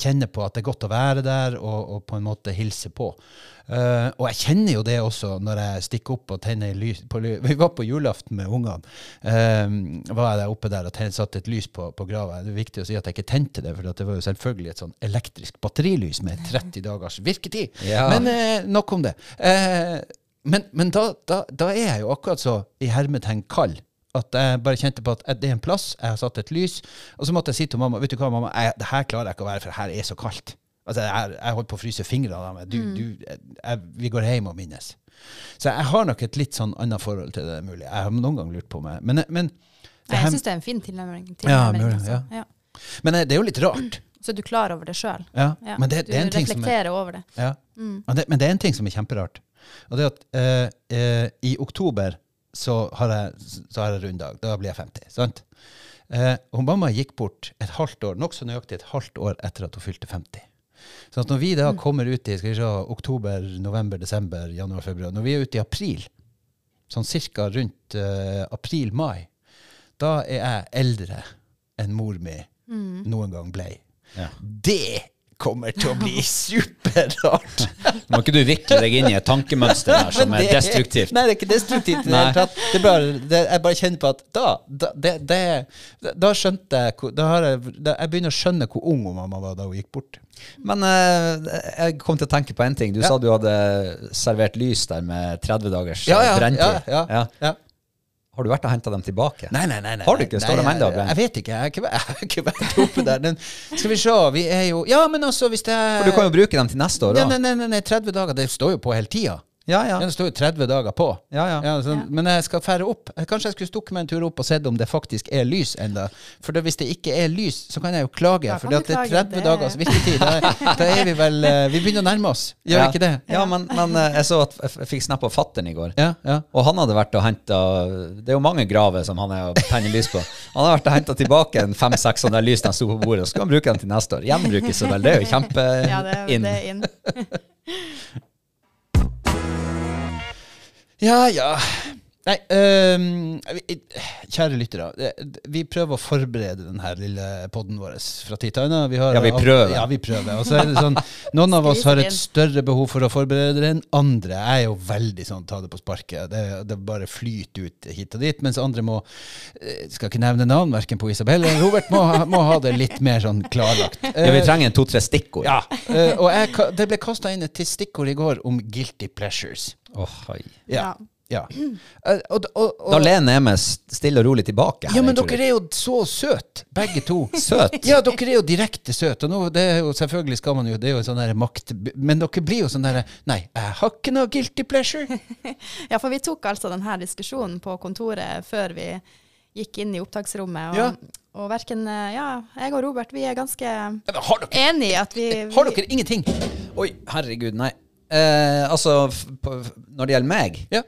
Speaker 2: kjenne på at det er godt å være der, og, og på en måte hilse på. Eh, og jeg kjenner jo det også når jeg stikker opp og tenner lys på, ly- Vi var på julaften med ungene. Eh, var jeg der oppe der og ten- satte et lys på, på grava. Det er viktig å si at jeg ikke tente det, for at det var jo selvfølgelig et sånn elektrisk batterilys med 30 dagers virketid.
Speaker 3: Ja.
Speaker 2: Men eh, nok om det. Eh, men men da, da, da er jeg jo akkurat så i hermetegn kald. At jeg bare kjente på at eh, det er en plass, jeg har satt et lys. Og så måtte jeg si til mamma vet du hva, mamma, jeg, det her klarer jeg ikke å være, for her er så kaldt. Altså, jeg, jeg holdt på å fryse fingrene av meg. Du,
Speaker 1: Mm.
Speaker 2: du, jeg, jeg, vi går hjem og minnes. Så jeg har nok et litt sånn annet forhold til det mulig. Jeg har noen gang lurt på meg. Men, men, det
Speaker 1: Nei,
Speaker 2: her-
Speaker 1: jeg syns det er en fin tilnærming.
Speaker 2: Ja,
Speaker 1: tilnærming,
Speaker 2: mulig,
Speaker 1: altså. ja.
Speaker 2: men eh, det er jo litt rart.
Speaker 1: Så du er klar over det sjøl.
Speaker 2: Ja.
Speaker 1: Ja.
Speaker 2: Men det,
Speaker 1: Du
Speaker 2: det er en ting som er
Speaker 1: reflekterer over det. Mm.
Speaker 2: Ja. Men, det, men det er en ting som er kjemperart. Og det er at eh, eh, i oktober så har jeg, så har jeg runddag. Da blir jeg 50. sant? Eh, og mamma gikk bort et halvt år, nokså nøyaktig et halvt år etter at hun fylte 50. Så at når vi da kommer ut i skal vi se, oktober, november, desember, januar, februar Når vi er ute i april, sånn cirka rundt eh, april-mai, da er jeg eldre enn mor mi noen gang ble.
Speaker 3: Ja.
Speaker 2: Det kommer til å bli superrart!
Speaker 3: Må ikke du vikle deg inn i et tankemønster her som
Speaker 2: Men
Speaker 3: er
Speaker 2: det
Speaker 3: destruktivt?
Speaker 2: Nei, det er ikke destruktivt. i Det
Speaker 3: Nei.
Speaker 2: hele tatt. det er bare, det, jeg bare kjenner på at da Da, det, det, da skjønte jeg hvor, da har jeg, da, jeg begynner å skjønne hvor ung mamma var da hun gikk bort.
Speaker 3: Men eh, jeg kom til å tenke på en ting. Du
Speaker 2: Ja.
Speaker 3: sa du hadde servert lys der med 30 dagers eh,
Speaker 2: ja,
Speaker 3: brenntid.
Speaker 2: ja, ja.
Speaker 3: Ja. Har du vært og henta dem tilbake?
Speaker 2: Nei, nei, nei, nei.
Speaker 3: Har du ikke? Står de
Speaker 2: Nei,
Speaker 3: enda og
Speaker 2: jeg,
Speaker 3: brenner?
Speaker 2: jeg vet ikke. Jeg har ikke, væ- jeg har ikke vært oppe der. Men skal vi se, vi er jo Ja, men altså, hvis det
Speaker 3: For du kan jo bruke dem til neste år
Speaker 2: Nei,
Speaker 3: òg.
Speaker 2: nei, nei, nei, nei, 30 dager. Det står jo på hele tida.
Speaker 3: Ja, ja.
Speaker 2: Ja, det står jo 30 dager på.
Speaker 3: Ja, ja.
Speaker 2: så, Men jeg skal fære opp. Eh, Kanskje jeg skulle stukket meg en tur opp og sett om det faktisk er lys enda. For det, hvis det ikke er lys, så kan jeg jo klage.
Speaker 1: Da
Speaker 2: For
Speaker 1: kan du
Speaker 2: det er
Speaker 1: klage,
Speaker 2: 30
Speaker 1: det-
Speaker 2: dagers virketid. Da, da er vi vel eh, Vi begynner å nærme oss. Gjør
Speaker 3: ja.
Speaker 2: vi ikke det?
Speaker 3: Ja, men, men eh, jeg så at jeg f- jeg fikk snap av fattern i går.
Speaker 2: Ja, ja.
Speaker 3: Og han hadde vært og henta Det er jo mange graver som han er og tenner lys på. Han har vært og henta tilbake en fem-seks sånne lys de sto på bordet, og så skal han bruke dem til neste år. Gjenbrukes og vel. Det er jo kjempe
Speaker 2: Eh,
Speaker 1: Ja, det,
Speaker 3: inn.
Speaker 1: det er inn.
Speaker 2: Ja, ja. Nei, øhm, vi- kjære lyttere. det- Vi prøver å forberede denne lille podden vår fra tid til annen. Vi har-
Speaker 3: Ja, vi prøver.
Speaker 2: Ja, vi prøver. Og så er det sånn, noen av oss har et større behov for å forberede det enn andre. Jeg er jo veldig sånn ta det på sparket. Det, det bare flyter ut hit og dit. Mens andre må eh, Skal ikke nevne navn, verken på Isabel eller Robert, må, ha- må ha det litt mer sånn klarlagt.
Speaker 3: Ja, vi trenger en to-tre stikkord.
Speaker 2: ja. eh, og jeg, ka- det ble kasta inn et stikkord i går om guilty pleasures.
Speaker 3: Åh, hei.
Speaker 2: Ja.
Speaker 1: Ja.
Speaker 2: ja. Eh, og, og, og,
Speaker 3: Da lener jeg meg stille og rolig tilbake. her,
Speaker 2: ja, men
Speaker 3: tror
Speaker 2: dere er
Speaker 3: jeg.
Speaker 2: jo så søte, begge to.
Speaker 3: Søt.
Speaker 2: Ja, dere er jo direkte søte. Og nå, det er jo, selvfølgelig skal man jo Det er jo sånn der makt... Men dere blir jo sånn derre Nei, jeg har ikke noe guilty pleasure.
Speaker 1: Ja, for vi tok altså denne diskusjonen på kontoret før vi gikk inn i opptaksrommet. Og,
Speaker 2: Ja.
Speaker 1: og verken eh, Ja, jeg og Robert, vi er ganske
Speaker 2: Ja, men Har dere,
Speaker 1: enige i at vi,
Speaker 2: Eh, har
Speaker 1: vi
Speaker 2: dere ingenting?
Speaker 3: Oi, herregud, nei. Eh, altså, f på, f- når det gjelder meg,
Speaker 2: Ja.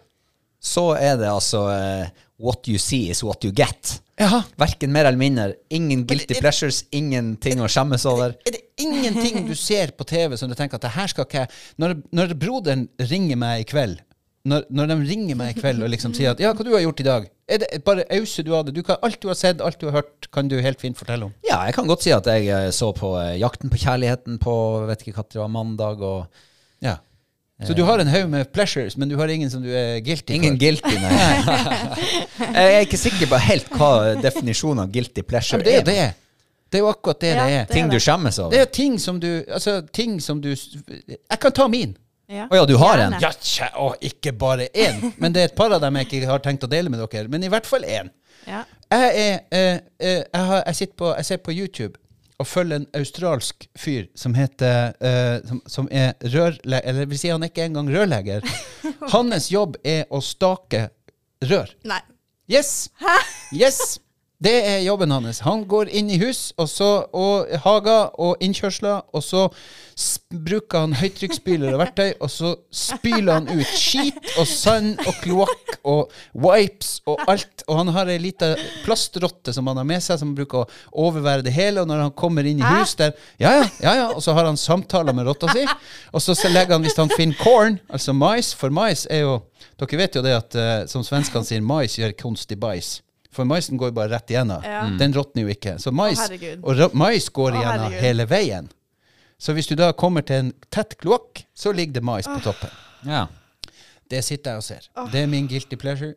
Speaker 3: så er det altså eh, What you see is what you get.
Speaker 2: Jaha.
Speaker 3: Verken mer eller mindre. Ingen guilty
Speaker 2: er-
Speaker 3: pleasures, ingenting å skjemmes over.
Speaker 2: Er det ingenting du ser på TV som du tenker at det her skal ikke jeg når, når broderen ringer meg i kveld når, når de ringer meg i kveld og liksom sier at ja, hva du har gjort i dag? Er det bare auser du av det? Du kan, alt du har sett, alt du har hørt, kan du helt fint fortelle om.
Speaker 3: Ja, jeg kan godt si at jeg eh, så på eh, Jakten på kjærligheten på vet ikke hva det var, mandag, og
Speaker 2: Ja. Så du har en haug med pleasures, men du har ingen som du er guilty
Speaker 3: Eh. Ingen
Speaker 2: for?
Speaker 3: guilty, nei. jeg er ikke sikker på helt hva definisjonen av guilty
Speaker 2: Ja,
Speaker 3: pleasure
Speaker 2: men det er jo
Speaker 3: er.
Speaker 2: det. Det er jo akkurat det
Speaker 1: Ja,
Speaker 2: det er.
Speaker 1: det-
Speaker 3: Ting du skjemmes
Speaker 2: Det
Speaker 3: over.
Speaker 2: er jo ting som du Altså, ting som du Jeg kan ta min.
Speaker 1: ja.
Speaker 3: Å ja, du har en.
Speaker 1: Gjerne.
Speaker 2: Ja, tja, å, ikke bare én, men det er et par av dem jeg ikke har tenkt å dele med dere. Men i hvert fall én.
Speaker 1: Ja.
Speaker 2: Jeg, er, eh, eh, jeg, har, jeg, sitter på, jeg ser på YouTube og følger en australsk fyr som heter eh, som, som er rørlegger Eller det vil si, han er ikke engang rørlegger. Hans jobb er å stake rør.
Speaker 1: Nei.
Speaker 2: Yes! Yes! Det er jobben hans. Han går inn i hus og, så, og hager og innkjørsler, og så s- bruker han høytrykksspyler og verktøy, og så spyler han ut skit og sand og kloakk og wipes og alt. Og han har ei lita plastrotte som han har med seg, som bruker å overvære det hele. Og når han kommer inn i
Speaker 1: Hæ?
Speaker 2: hus der Ja, ja, ja, ja. Og så har han samtaler med rotta si. Og så legger han, hvis han finner corn, altså mais, for mais er jo Dere vet jo det at eh, som svenskene sier, mais gjør konstig bæsj. For maisen går jo bare rett igjennom.
Speaker 1: Ja.
Speaker 2: Den råtner jo ikke. Så mais,
Speaker 1: herregud.
Speaker 2: og ra- mais går
Speaker 1: Å,
Speaker 2: igjennom
Speaker 1: herregud.
Speaker 2: hele veien. Så hvis du da kommer til en tett kloakk, så ligger det mais på toppen.
Speaker 3: Ja.
Speaker 2: Det sitter jeg og ser. Det er min guilty pleasure.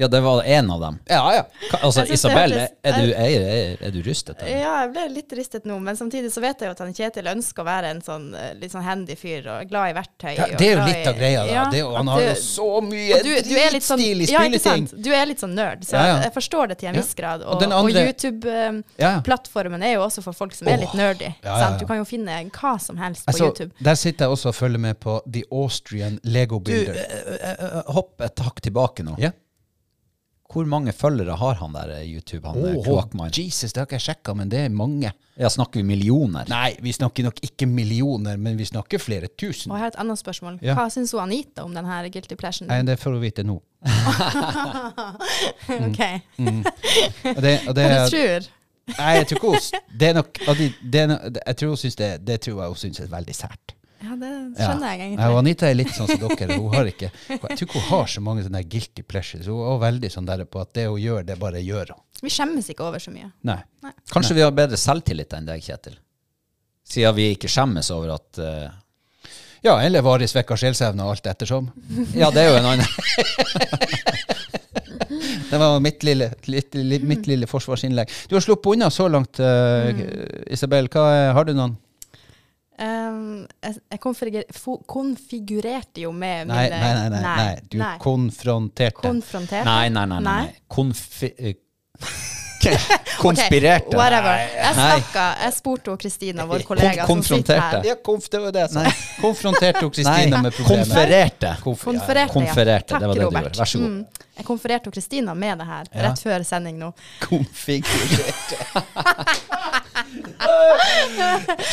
Speaker 3: ja, det var en av dem.
Speaker 2: Ja, ja.
Speaker 3: Ka- Altså,
Speaker 1: Jeg synes det
Speaker 3: Isabel,
Speaker 1: hørtes-
Speaker 3: er du, er, er, er du rustet? eller?
Speaker 1: Ja, jeg ble litt ristet nå, men samtidig så vet jeg jo at han Kjetil ønsker å være en sånn eh, litt sånn handy fyr og glad i verktøy.
Speaker 2: Ja,
Speaker 1: og
Speaker 2: det er jo
Speaker 1: glad
Speaker 2: litt av
Speaker 1: i-
Speaker 2: greia, da.
Speaker 1: Ja,
Speaker 2: det er jo, han
Speaker 1: at
Speaker 2: har jo
Speaker 1: du-
Speaker 2: så mye
Speaker 1: og du, du er litt sånn,
Speaker 2: dritstilig
Speaker 1: ja, ikke
Speaker 2: spilleting.
Speaker 1: sant? Du er litt sånn nerd, så
Speaker 2: Ja, ja.
Speaker 1: jeg forstår det til en viss grad.
Speaker 2: Og
Speaker 1: Og,
Speaker 2: den
Speaker 1: og,
Speaker 2: andre- Ja.
Speaker 1: YouTube-plattformen er jo også for folk som
Speaker 2: Åh.
Speaker 1: er litt nerdy.
Speaker 2: Ja, ja,
Speaker 1: sant?
Speaker 2: ja.
Speaker 1: Du kan jo finne hva som helst på
Speaker 2: Altså,
Speaker 1: YouTube.
Speaker 2: der sitter jeg også og følger med på The Austrian Lego
Speaker 3: Du,
Speaker 2: Builder.
Speaker 3: eh, eh, eh, hopp et hakk tilbake nå.
Speaker 2: ja.
Speaker 3: Hvor mange følgere har han der eh, YouTube, han oh,
Speaker 2: Åh,
Speaker 3: kloakkmannen?
Speaker 2: Jesus, det har ikke jeg sjekka, men det er mange.
Speaker 3: Ja, snakker vi millioner?
Speaker 2: Nei, vi snakker nok ikke millioner, men vi snakker flere tusen.
Speaker 1: Og jeg har et annet spørsmål.
Speaker 2: Ja.
Speaker 1: Hva syns hun Anita om den her guilty pleasuren?
Speaker 2: Nei, det får vi vite nå.
Speaker 1: ok,
Speaker 2: Og det, og mm. det,
Speaker 1: hva du tror?
Speaker 2: nei, jeg tror ikke hun s- Det er nok av de det er no, Jeg tror hun syns det, det tror jeg hun syns er veldig sært.
Speaker 1: Ja, det skjønner jeg
Speaker 2: Nei,
Speaker 1: egentlig.
Speaker 2: og Anita er litt sånn som dere. Hun har ikke, jeg tror ikke hun har så mange sånne guilty pleasures. Hun er også veldig sånn der på at det hun gjør, det bare gjør hun.
Speaker 1: Vi skjemmes ikke over så mye.
Speaker 2: Nei.
Speaker 3: Kanskje vi har bedre selvtillit enn deg, Kjetil? Siden vi ikke skjemmes over at eh,
Speaker 2: Ja, eller varig svekka sjelsevne og alt ettersom.
Speaker 3: Ja, det er jo en annen
Speaker 2: Det var mitt lille, litt, li- mitt lille forsvarsinnlegg. Du har sluppet unna så langt, eh,
Speaker 1: Mm.
Speaker 2: Isabel. Hva er, har du noen?
Speaker 1: Um, jeg jeg konfigure- fo- konfigurerte jo med
Speaker 2: Nei,
Speaker 1: mine
Speaker 2: nei, nei. nei, nei. Du
Speaker 1: nei.
Speaker 2: konfronterte.
Speaker 1: Konfronterte.
Speaker 3: Nei, nei, nei. nei. nei. Konfi... eh, Konspirerte.
Speaker 1: Ok, whatever. Jeg
Speaker 3: Nei.
Speaker 1: snakka, jeg spurte hun Kristina, vår
Speaker 3: Kon-
Speaker 1: kollega som sitter
Speaker 3: konfronterte.
Speaker 1: her.
Speaker 2: ja, konf, det var det jeg sa. Konfronterte hun Kristina
Speaker 3: Nei,
Speaker 2: med problemet.
Speaker 3: konfererte.
Speaker 2: Konf- ja, ja.
Speaker 1: Konfererte,
Speaker 3: Konfererte,
Speaker 1: ja.
Speaker 3: det var det du gjorde. Vær så god.
Speaker 1: Mm. Jeg konfererte hun Kristina med det her rett før sending nå.
Speaker 2: Konfigurerte.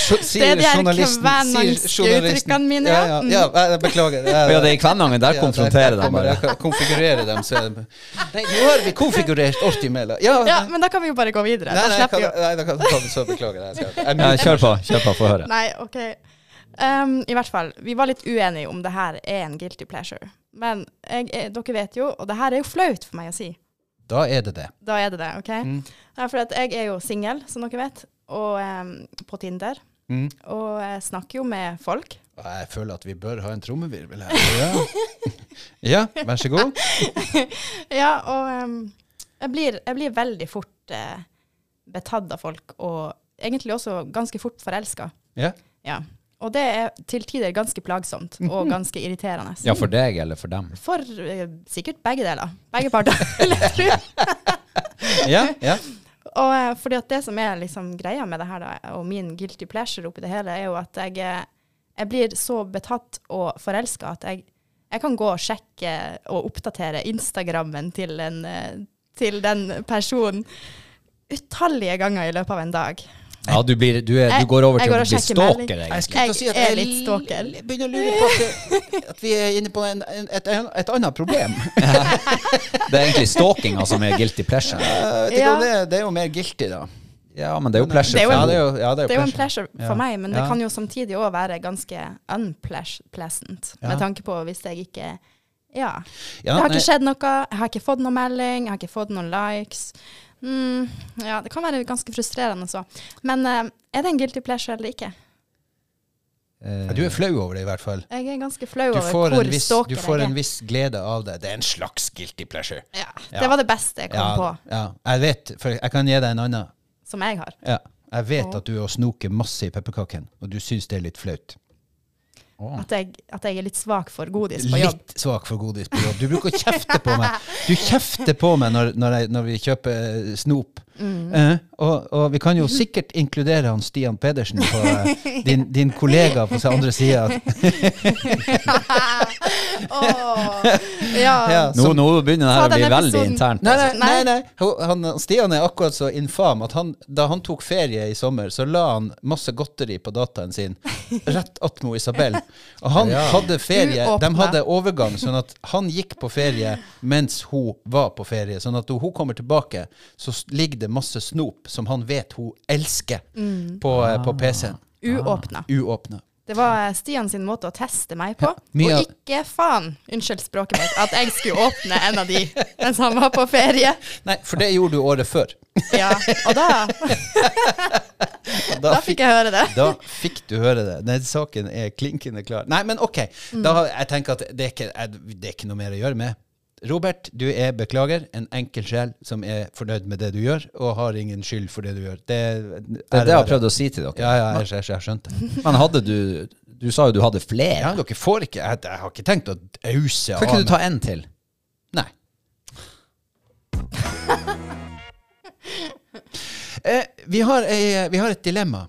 Speaker 2: Så- sier
Speaker 1: Det er de her
Speaker 2: journalisten-
Speaker 1: kvenangske
Speaker 2: sier journalisten-
Speaker 1: uttrykkene mine,
Speaker 2: Ja,
Speaker 1: ja.
Speaker 2: ja, ja, jeg beklager. Jeg-
Speaker 3: Ja, det er i Kvænangen. Der
Speaker 2: Ja,
Speaker 3: konfronterer
Speaker 2: der
Speaker 3: de
Speaker 2: kommer
Speaker 3: bare.
Speaker 2: jeg. Konfigurerer dem, så er det Nei, nå har vi konfigurert oss imellom. Ja,
Speaker 1: Ja,
Speaker 2: nei,
Speaker 1: men da kan vi jo bare gå videre.
Speaker 2: nei,
Speaker 1: da
Speaker 2: nei,
Speaker 1: slipper
Speaker 2: kan,
Speaker 1: vi jo
Speaker 2: nei, da kan, kan, så beklager jeg. jeg. skal- jeg
Speaker 3: Ja,
Speaker 2: muter.
Speaker 3: kjør på, kjør på, få høre.
Speaker 1: Nei, ok. Ehm, I hvert fall, vi var litt uenige om det her er en guilty pleasure. Men jeg, er- dere vet jo, og det her er jo flaut for meg å si.
Speaker 2: Da er det det.
Speaker 1: Da er det det, OK? Ja, for at jeg er jo singel, som dere vet, og ehm, på Tinder.
Speaker 2: Mm.
Speaker 1: Og jeg snakker jo med folk.
Speaker 2: Og Jeg føler at vi bør ha en trommevirvel her. Ja, ja vær så god.
Speaker 1: Ja, og ehm, jeg, blir, jeg blir veldig fort eh, betatt av folk, og egentlig også ganske fort forelska.
Speaker 2: Ja.
Speaker 1: Ja. Og det er til tider ganske plagsomt og ganske irriterende.
Speaker 3: Ja, for deg eller for dem?
Speaker 1: For eh, sikkert begge deler. Begge parter, vil jeg tro.
Speaker 2: Ja, ja.
Speaker 1: Og eh, fordi at det som er liksom greia med det her, da, og min guilty pleasure oppi det hele, er jo at jeg, eh, jeg blir så betatt og forelska at jeg, jeg kan gå og sjekke og oppdatere Instagrammen til, en, eh, til den personen utallige ganger i løpet av en dag.
Speaker 3: Ja, du, blir, du, er, du
Speaker 1: Jeg-
Speaker 3: går over
Speaker 1: jeg
Speaker 3: til
Speaker 1: går
Speaker 3: å
Speaker 1: og
Speaker 3: bli
Speaker 1: sjekker
Speaker 3: stalker,
Speaker 1: melding.
Speaker 3: egentlig.
Speaker 1: Jeg er litt stalker.
Speaker 2: Jeg begynner å lure på at, det- at vi er inne på en, en, et, et annet problem.
Speaker 3: Det er egentlig stalkinga som er guilty pleasure.
Speaker 2: Jeg vet ikke om Eh, det, er- det er jo mer guilty, da.
Speaker 3: Ja, men det er jo pleasure.
Speaker 1: Det er jo
Speaker 3: for
Speaker 1: en-
Speaker 2: ja,
Speaker 3: henne.
Speaker 2: det er jo, ja, det er
Speaker 1: Det er jo en
Speaker 2: pleasure.
Speaker 1: pleasure
Speaker 2: Ja.
Speaker 1: for meg, men det
Speaker 2: Ja.
Speaker 1: kan jo samtidig òg være ganske unpleasant,
Speaker 2: Ja.
Speaker 1: med tanke på hvis jeg ikke Ja.
Speaker 2: Ja,
Speaker 1: det har
Speaker 2: nei.
Speaker 1: ikke skjedd noe, jeg har ikke fått noen melding, jeg har ikke fått noen likes. Mm, ja, det kan være ganske frustrerende så. Men eh, er det en guilty pleasure eller ikke?
Speaker 3: Eh,
Speaker 2: Ja, Du er flau over det, i hvert fall.
Speaker 1: Jeg er ganske flau
Speaker 2: Du
Speaker 1: over
Speaker 2: får,
Speaker 1: hvor
Speaker 2: en viss, du
Speaker 1: stalker
Speaker 2: får
Speaker 1: jeg
Speaker 2: en
Speaker 1: er.
Speaker 2: viss glede av det. Det er en slags guilty pleasure.
Speaker 1: Ja,
Speaker 2: Ja.
Speaker 1: det var det beste jeg kom på,
Speaker 2: Ja, ja, jeg vet, for jeg kan gi deg en annen.
Speaker 1: som jeg har.
Speaker 2: Ja, jeg vet at du er og snoker masse i pepperkaken, og du syns det er litt flaut.
Speaker 3: å.
Speaker 1: At jeg, at jeg er litt svak for godis på jobb.
Speaker 2: Mm. Litt svak for godis på jobb. Du bruker å kjefte på meg. Du kjefter på meg når, når, jeg, når vi kjøper eh, snop,
Speaker 1: Mm.
Speaker 2: Eh, og, og vi kan jo sikkert inkludere han Stian Pedersen, på, eh, din, din kollega på den andre sida.
Speaker 1: Åh, ja.
Speaker 2: Ja,
Speaker 3: Nå,
Speaker 2: som-
Speaker 3: nå begynner det
Speaker 1: Ta
Speaker 3: her å
Speaker 1: den
Speaker 3: bli veldig
Speaker 1: episoden.
Speaker 3: internt.
Speaker 2: altså- Nei,
Speaker 3: altså.
Speaker 2: nei, nei, nei. Ho- Han, Stian er akkurat så infam at han, da han tok ferie i sommer, så la han masse godteri på dataen sin rett attmo Isabel. Og han hadde ferie,
Speaker 1: Uåpna.
Speaker 2: de hadde overgang, sånn at han gikk på ferie mens hun var på ferie. Sånn at når hun kommer tilbake, så s- ligger det masse snop som han vet hun elsker,
Speaker 1: Mm.
Speaker 2: på, eh,
Speaker 3: Ah.
Speaker 2: på PC-en.
Speaker 1: Uåpna.
Speaker 2: Uåpna.
Speaker 1: Det var Stian sin måte å teste meg på.
Speaker 2: mye av-
Speaker 1: Og ikke faen, unnskyld språket mitt, at jeg skulle åpne en av de mens han var på ferie.
Speaker 2: Nei, for det gjorde du året før.
Speaker 1: Ja, Og da,
Speaker 2: Og
Speaker 1: da fikk jeg høre det.
Speaker 2: Da fikk du høre det. Den saken er klinkende klar. Nei, men ok. Da, har- jeg tenker at det er, ikke, jeg- det er ikke noe mer å gjøre med. Robert, du er, beklager, en enkel sjel som er fornøyd med det du gjør, og har ingen skyld for det du gjør. Det,
Speaker 3: Det er det jeg har prøvd å si til dere.
Speaker 2: Ja, ja, jeg, jeg, jeg skjønte det.
Speaker 3: Men hadde du Du sa jo du hadde flere.
Speaker 2: Ja, dere får ikke Jeg, jeg har ikke tenkt å ause
Speaker 3: Kan ikke du ta en til?
Speaker 2: Nei. eh, vi, har ei, vi har et dilemma.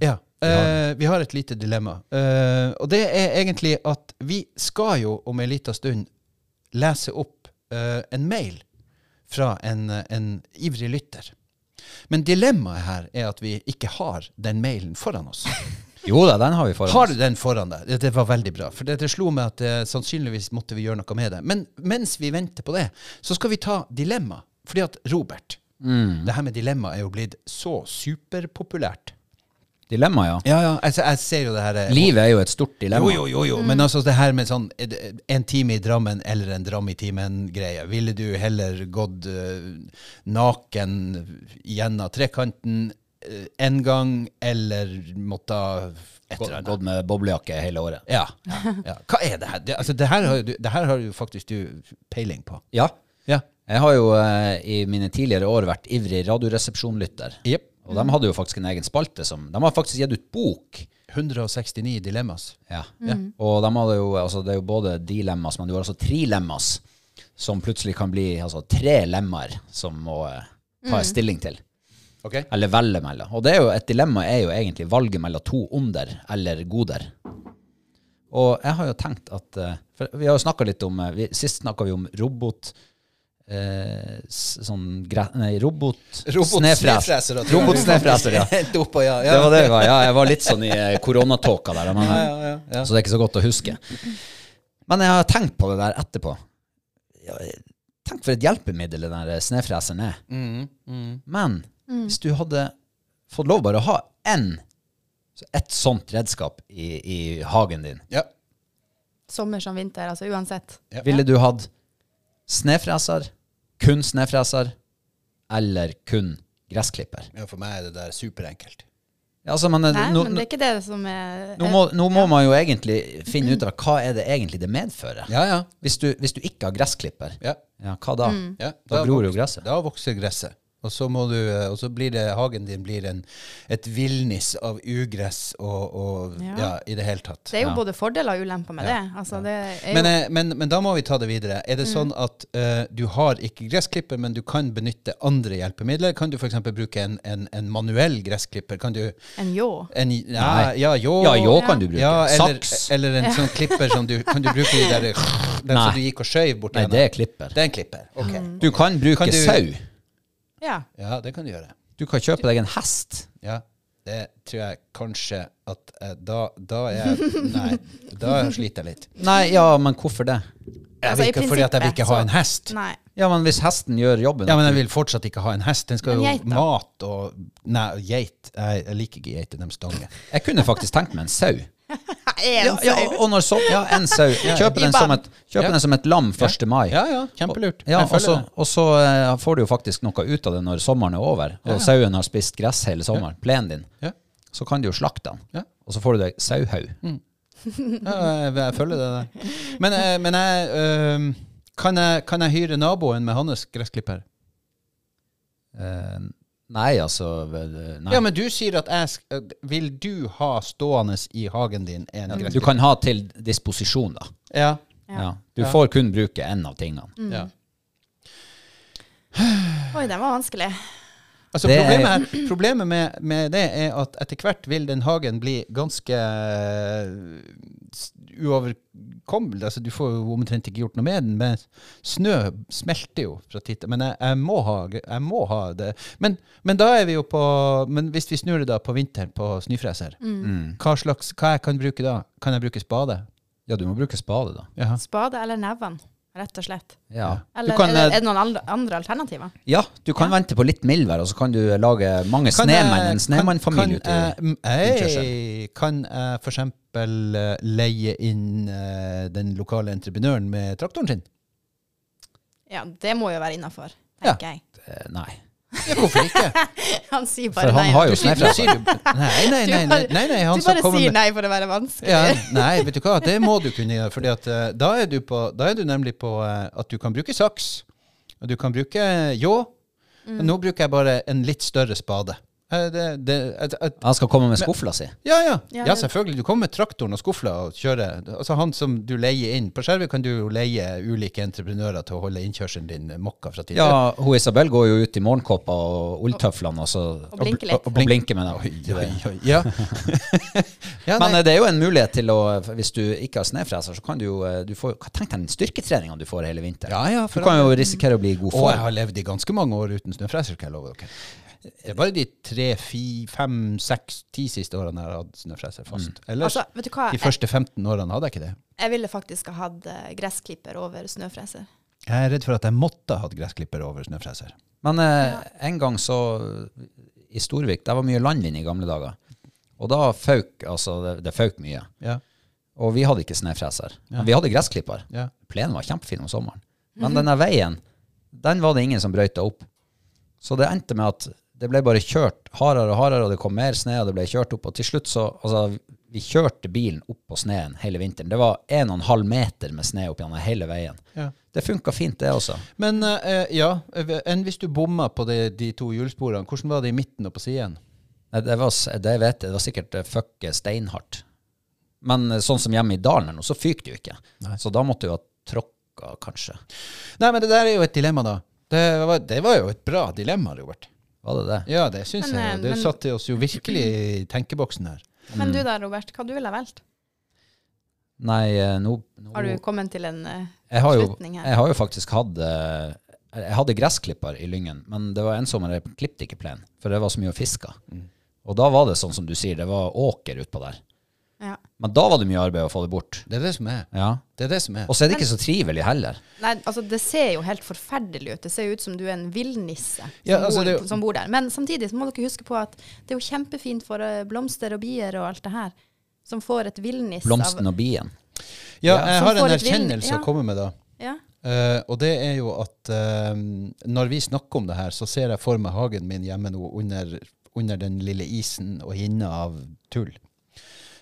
Speaker 2: Ja. Eh, vi har et lite dilemma. Eh, og det er egentlig at vi skal jo om ei lita stund lese opp eh, en mail fra en, eh, en ivrig lytter. Men dilemmaet her er at vi ikke har den mailen foran oss.
Speaker 3: Jo da, den har vi foran
Speaker 2: Har
Speaker 3: oss.
Speaker 2: du den foran deg? Det, det var veldig bra. For det, det slo meg at eh, sannsynligvis måtte vi gjøre noe med det. Men mens vi venter på det, så skal vi ta dilemma. Fordi at Robert Det her med dilemma er jo blitt så superpopulært.
Speaker 3: Dilemma, ja.
Speaker 2: Ja, ja. Altså, jeg ser jo det her eh,
Speaker 3: Livet er jo et stort dilemma.
Speaker 2: Jo, jo, jo, jo. Men altså det her med sånn er det en time i Drammen eller en Dram i timen-greie. Ville du heller gått eh, naken gjennom trekanten eh, en gang, eller måtte et eller
Speaker 3: Gått
Speaker 2: annet?
Speaker 3: gått med boblejakke hele året.
Speaker 2: Ja. ja. Hva er det her? Det, altså, det, her har, jo du, det her har jo faktisk du peiling på.
Speaker 3: Ja.
Speaker 2: Ja.
Speaker 3: Jeg har jo eh, i mine tidligere år vært ivrig radioresepsjonlytter.
Speaker 2: Jepp.
Speaker 3: Og de hadde jo faktisk en egen spalte som De har faktisk gitt ut bok.
Speaker 2: 169 dilemmas.
Speaker 3: Ja. Og de hadde jo, altså, det er jo både dilemmas, men du har altså trilemmas, som plutselig kan bli altså, tre lemmaer som må eh, ta en stilling til.
Speaker 2: Ok?
Speaker 3: Eller velge mellom. Og det er jo, et dilemma er jo egentlig valget mellom to onder eller goder. Og jeg har jo tenkt at eh, For vi har jo snakka litt om eh, vi, Sist snakka vi om robot... Eh, s- sånn gre... Nei, robot... snefres. Robotsnefreser, ja.
Speaker 2: Dopa, ja.
Speaker 3: Det var det jeg var. Ja, jeg var litt sånn i eh, koronatåka der. Men,
Speaker 2: Ja, ja, ja, ja.
Speaker 3: Så det er ikke så godt å huske. Men jeg har tenkt på det der etterpå. Ja, Tenk for et hjelpemiddel den der snøfreseren er.
Speaker 2: Mm, mm.
Speaker 3: Men hvis du hadde fått lov bare å ha én så et sånt redskap i, i hagen din,
Speaker 2: ja.
Speaker 1: Sommer som vinter, altså uansett.
Speaker 2: Ja.
Speaker 3: ville du hatt snøfreser, kun snøfreser eller kun gressklipper?
Speaker 2: ja, for meg er det der superenkelt.
Speaker 3: Ja, Altså, men, eh,
Speaker 1: Nei,
Speaker 3: nå-
Speaker 1: men det er ikke det som er
Speaker 3: nå må, nå må man jo egentlig finne ut av hva er det egentlig det medfører.
Speaker 2: Ja, ja.
Speaker 3: Hvis, du, hvis du ikke har gressklipper,
Speaker 2: ja,
Speaker 3: ja, hva da?
Speaker 1: Mm.
Speaker 2: ja.
Speaker 3: Da gror jo gresset.
Speaker 2: Da vokser gresset. Og så, må du, eh, og så blir det, hagen din blir en, et villnis av ugress og, og ja.
Speaker 1: Ja.
Speaker 2: i det hele tatt.
Speaker 1: Det er jo både fordeler og ulemper med det. Altså, det er jo,
Speaker 2: Men, eh, men, men da må vi ta det videre. Er
Speaker 1: Mm.
Speaker 2: det sånn at eh, du har ikke gressklipper, men du kan benytte andre hjelpemidler? Kan du f.eks. bruke en, en, en manuell gressklipper? Kan du
Speaker 1: en ljå.
Speaker 2: en, ja, ja, jo.
Speaker 3: Ja, jo kan du bruke.
Speaker 2: Ja, eller,
Speaker 3: Saks.
Speaker 2: eller en sånn klipper som du kan du bruke de der, den
Speaker 3: Nei.
Speaker 2: som du gikk og skjøv bort
Speaker 3: Nei,
Speaker 2: igjen?
Speaker 3: det er klipper.
Speaker 2: Det er en klipper. Ok.
Speaker 1: Mm.
Speaker 3: Du kan bruke
Speaker 2: Kan du-
Speaker 3: sau.
Speaker 1: Ja.
Speaker 2: Ja, det kan du gjøre.
Speaker 3: Du kan kjøpe deg en hest.
Speaker 2: Ja. Det tror jeg kanskje at eh, da, da er jeg Nei, da sliter jeg litt.
Speaker 3: Nei, ja, men hvorfor det?
Speaker 2: Jeg
Speaker 1: Altså,
Speaker 2: vil
Speaker 1: i
Speaker 2: ikke, fordi at jeg vil
Speaker 1: prinsippet,
Speaker 2: ikke ha
Speaker 1: så-
Speaker 2: en hest.
Speaker 1: Nei.
Speaker 3: Ja, men hvis hesten gjør jobben
Speaker 2: Ja, men jeg vil fortsatt ikke ha en hest. Den skal
Speaker 1: Men
Speaker 2: jo
Speaker 1: geit, da?
Speaker 2: mat og Nei, geit. Jeg, jeg liker ikke geiter, de stanger.
Speaker 3: Jeg kunne faktisk tenkt meg en sau.
Speaker 1: En
Speaker 3: Ja, ja,
Speaker 1: sau.
Speaker 3: og når så, ja, en sau. Kjøp den som et, kjøp
Speaker 2: Ja.
Speaker 3: den som et lam 1. mai.
Speaker 2: Ja, ja, kjempelurt.
Speaker 3: Ja,
Speaker 2: Jeg
Speaker 3: og så,
Speaker 2: følger det.
Speaker 3: og så eh, får du jo faktisk noe ut av det når sommeren er over, og sauen har spist gress hele sommeren, plenen din.
Speaker 2: Ja.
Speaker 3: Så kan du jo slakte den,
Speaker 2: Ja.
Speaker 3: og så får du deg sauhaug.
Speaker 2: Ja, jeg, jeg følger det der. Men, eh, men jeg, øhm, kan jeg Kan jeg hyre naboen med hans gressklipper?
Speaker 3: Eh, nei, altså eh, nei.
Speaker 2: Ja, men du sier at jeg sk- eh, Vil du ha stående i hagen din en
Speaker 3: Du
Speaker 2: gressklipper?
Speaker 3: kan ha til disposisjon, da.
Speaker 2: Ja.
Speaker 3: Ja.
Speaker 1: Ja. Mm.
Speaker 3: Du får kun bruke én av tingene.
Speaker 2: ja.
Speaker 1: Oi, den var vanskelig.
Speaker 2: Altså,
Speaker 3: Det er-
Speaker 2: problemet, her, problemet med, med det er at etter hvert vil den hagen bli ganske s- uoverkommelig. Altså, du får jo omtrent ikke gjort noe med den, men snø smelter jo fra tid til Men jeg, jeg, må ha, jeg må ha det. Men, men da er vi jo på Men hvis vi snur det da på vinteren på snøfreser, hva, slags, hva jeg kan bruke da? Kan jeg bruke spade?
Speaker 3: Mm. Ja, du må bruke spade, da.
Speaker 2: Jaha.
Speaker 1: Spade eller nevene, rett og slett.
Speaker 3: Ja, du
Speaker 1: Eller
Speaker 3: kan,
Speaker 1: er, det,
Speaker 3: eh,
Speaker 1: er det noen andre, andre alternativer?
Speaker 3: ja, du kan vente på litt mildvær, og så kan du lage mange
Speaker 2: Kan
Speaker 3: snemenn.
Speaker 2: jeg-
Speaker 3: En
Speaker 2: Kan, kan,
Speaker 3: snemannfamilie ute.
Speaker 2: jeg- mm, ei,
Speaker 3: Utkjørsel.
Speaker 2: kan jeg for eksempel eh, leie inn eh, den lokale entreprenøren med traktoren sin?
Speaker 1: Ja, det må jo være innafor,
Speaker 2: Ja.
Speaker 1: tenker jeg.
Speaker 3: Eh, Nei.
Speaker 2: Ja, hvorfor ikke?
Speaker 1: Han sier bare
Speaker 3: For han
Speaker 1: nei.
Speaker 3: har jo
Speaker 2: Nei,
Speaker 3: snøfrø.
Speaker 2: nå sier du- nei, nei, nei, nei, nei, nei, han
Speaker 1: du
Speaker 2: skal
Speaker 1: bare
Speaker 2: komme
Speaker 1: sier
Speaker 2: med-
Speaker 1: nei for å være vanskelig.
Speaker 2: Ja, nei, vet du hva, det må du kunne gjøre. Fordi at eh, da er du, på, da er du nemlig på eh, at du kan bruke saks, og du kan bruke ljå.
Speaker 1: Mm.
Speaker 2: Men Nå bruker jeg bare en litt større spade. Eh, Det, det, at- at-
Speaker 3: Han skal komme med skufla si.
Speaker 2: Ja, ja.
Speaker 1: Ja,
Speaker 2: ja,
Speaker 1: det-
Speaker 2: selvfølgelig. Du kommer med traktoren og skufla og kjører. Altså Han som du leier inn På Skjervøy kan du jo leie ulike entreprenører til å holde innkjørselen din mokka fra tid til
Speaker 3: Ja, hun Isabel går jo ut i morgenkåpa og ulltøflene og, så,
Speaker 1: Og blinker litt.
Speaker 3: Og, og blinker med dem.
Speaker 2: annen. Ja. ja,
Speaker 3: Men
Speaker 2: nei.
Speaker 3: eh, det er jo en mulighet til å Hvis du ikke har snøfreser, så kan du jo eh, du får, Tenk deg den styrketreninga du får hele vinteren.
Speaker 2: ja, ja,
Speaker 3: Du
Speaker 2: for
Speaker 3: kan jo risikere å bli i god
Speaker 2: Og jeg
Speaker 3: form.
Speaker 2: har levd i ganske mange år uten snøfreser, skal jeg love dere. Det er bare de tre, fi, fem, seks, ti siste årene jeg har hatt snøfreser fast. Ellers,
Speaker 1: Altså, vet du hva?
Speaker 2: de første 15 årene hadde jeg ikke det.
Speaker 1: Jeg, jeg ville faktisk ha hatt eh, gressklipper over snøfreser.
Speaker 2: Jeg er redd for at jeg måtte ha hatt gressklipper over snøfreser.
Speaker 3: Men eh, en gang så I Storvik, der var mye landvind i gamle dager. Og da føk altså Det, det føk mye.
Speaker 2: Ja,
Speaker 3: Og vi hadde ikke snøfreser. Men vi hadde gressklipper.
Speaker 2: ja.
Speaker 3: Plenen var kjempefin om sommeren. Men denne veien, den var det ingen som brøyta opp. Så det endte med at det ble bare kjørt hardere og hardere, og det kom mer snø, og det ble kjørt opp. Og til slutt så Altså, vi kjørte bilen opp på sneen hele vinteren. Det var 1,5 meter med snø opp gjennom hele veien.
Speaker 2: Ja.
Speaker 3: Det funka fint, det også.
Speaker 2: Men eh, ja, enn hvis du bomma på de, de to hjulsporene, hvordan var det i midten og på siden?
Speaker 3: Nei, Det var, s- det vet jeg, det var sikkert eh, fuck eh, steinhardt. Men eh, sånn som hjemme i dalen her nå, så fyker det jo ikke. Så da måtte du ha tråkka, kanskje.
Speaker 2: Nei, men det der er jo et dilemma, da. Det var, det var jo et bra dilemma, Robert.
Speaker 3: Var det det?
Speaker 2: Ja, det syns
Speaker 1: Men,
Speaker 2: jeg.
Speaker 1: eh,
Speaker 2: Det
Speaker 1: men-
Speaker 2: satte oss jo virkelig i tenkeboksen her.
Speaker 3: Mm.
Speaker 1: Men du da, Robert, hva du ville ha valgt?
Speaker 3: Nei, eh, nå, nå
Speaker 1: Har du kommet til en eh,
Speaker 3: jeg har jo,
Speaker 1: slutning her?
Speaker 3: Jeg har jo faktisk hatt eh, Jeg hadde gressklipper i Lyngen, men det var en sommer jeg klippte ikke plenen, for det var så mye å fiske.
Speaker 2: Mm.
Speaker 3: Og da var det sånn som du sier, det var åker utpå der.
Speaker 1: Ja.
Speaker 3: Men da var det mye arbeid å få det bort.
Speaker 2: Det er det som er.
Speaker 3: Ja.
Speaker 2: Det er det som er.
Speaker 3: Og så er det ikke så trivelig heller.
Speaker 1: Nei, altså det ser jo helt forferdelig ut. Det ser jo ut som du er en villnisse som,
Speaker 2: Ja, altså,
Speaker 1: bor,
Speaker 2: det er jo-
Speaker 1: som bor der. Men samtidig så må dere huske på at det er jo kjempefint for eh, blomster og bier og alt det her, som får et villniss av
Speaker 3: Blomsten og bien.
Speaker 2: Ja,
Speaker 1: Som
Speaker 2: jeg har
Speaker 1: får et
Speaker 2: en
Speaker 1: vind-
Speaker 2: erkjennelse
Speaker 1: ja.
Speaker 2: å komme med, da.
Speaker 1: Ja,
Speaker 2: Eh, og det er jo at eh, når vi snakker om det her, så ser jeg for meg hagen min hjemme nå under, under den lille isen og hinna av tull.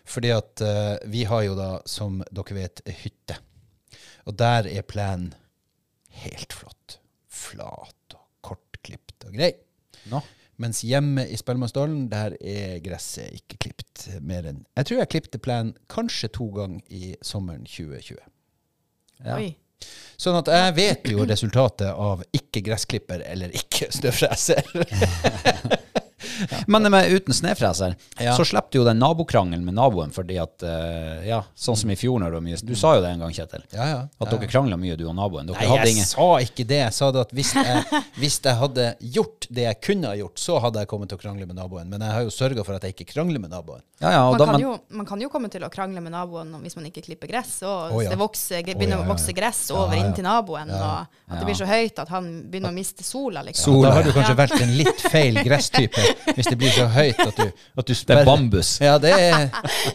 Speaker 2: Fordi at eh, vi har jo da, som dere vet, hytte. Og der er plenen helt flott. Flat og kortklipt og grei.
Speaker 3: Nå.
Speaker 2: Mens hjemme i Spellemannsdalen, der er gresset ikke klipt mer enn Jeg tror jeg klipte plenen kanskje to ganger i sommeren 2020.
Speaker 3: Ja.
Speaker 1: oi.
Speaker 2: Sånn at jeg vet jo resultatet av ikke gressklipper eller ikke snøfreser.
Speaker 3: Men med, uten snøfreser
Speaker 2: Ja.
Speaker 3: så slipper du jo den nabokrangelen med naboen, fordi at eh, Ja, sånn som i fjor når det var mye Du sa jo det en gang, Kjetil.
Speaker 2: Ja, ja.
Speaker 3: At dere krangla mye, du og naboen. Dere
Speaker 2: Nei,
Speaker 3: hadde
Speaker 2: jeg
Speaker 3: ingen
Speaker 2: sa ikke det. Jeg sa det at hvis jeg, hvis jeg hadde gjort det jeg kunne ha gjort, så hadde jeg kommet til å krangle med naboen. Men jeg har jo sørga for at jeg ikke krangler med naboen.
Speaker 3: Ja, ja, og
Speaker 1: Man,
Speaker 3: da,
Speaker 1: kan
Speaker 3: men,
Speaker 1: jo, man kan jo komme til å krangle med naboen om- hvis man ikke klipper gress, og
Speaker 2: Å,
Speaker 1: hvis
Speaker 2: ja.
Speaker 1: det vokser,
Speaker 2: Å,
Speaker 1: begynner
Speaker 2: ja, ja,
Speaker 1: å vokse
Speaker 2: ja.
Speaker 1: gress over
Speaker 2: Ja, ja.
Speaker 1: inntil naboen, og at
Speaker 3: Ja.
Speaker 1: det blir så høyt at han begynner å miste sola, liksom.
Speaker 2: Da
Speaker 3: Sola,
Speaker 2: har du kanskje
Speaker 1: Ja.
Speaker 2: valgt en litt feil gresstype hvis det blir så høyt at du, at du
Speaker 3: det
Speaker 2: sperrer.
Speaker 3: er bambus.
Speaker 2: Ja, det er,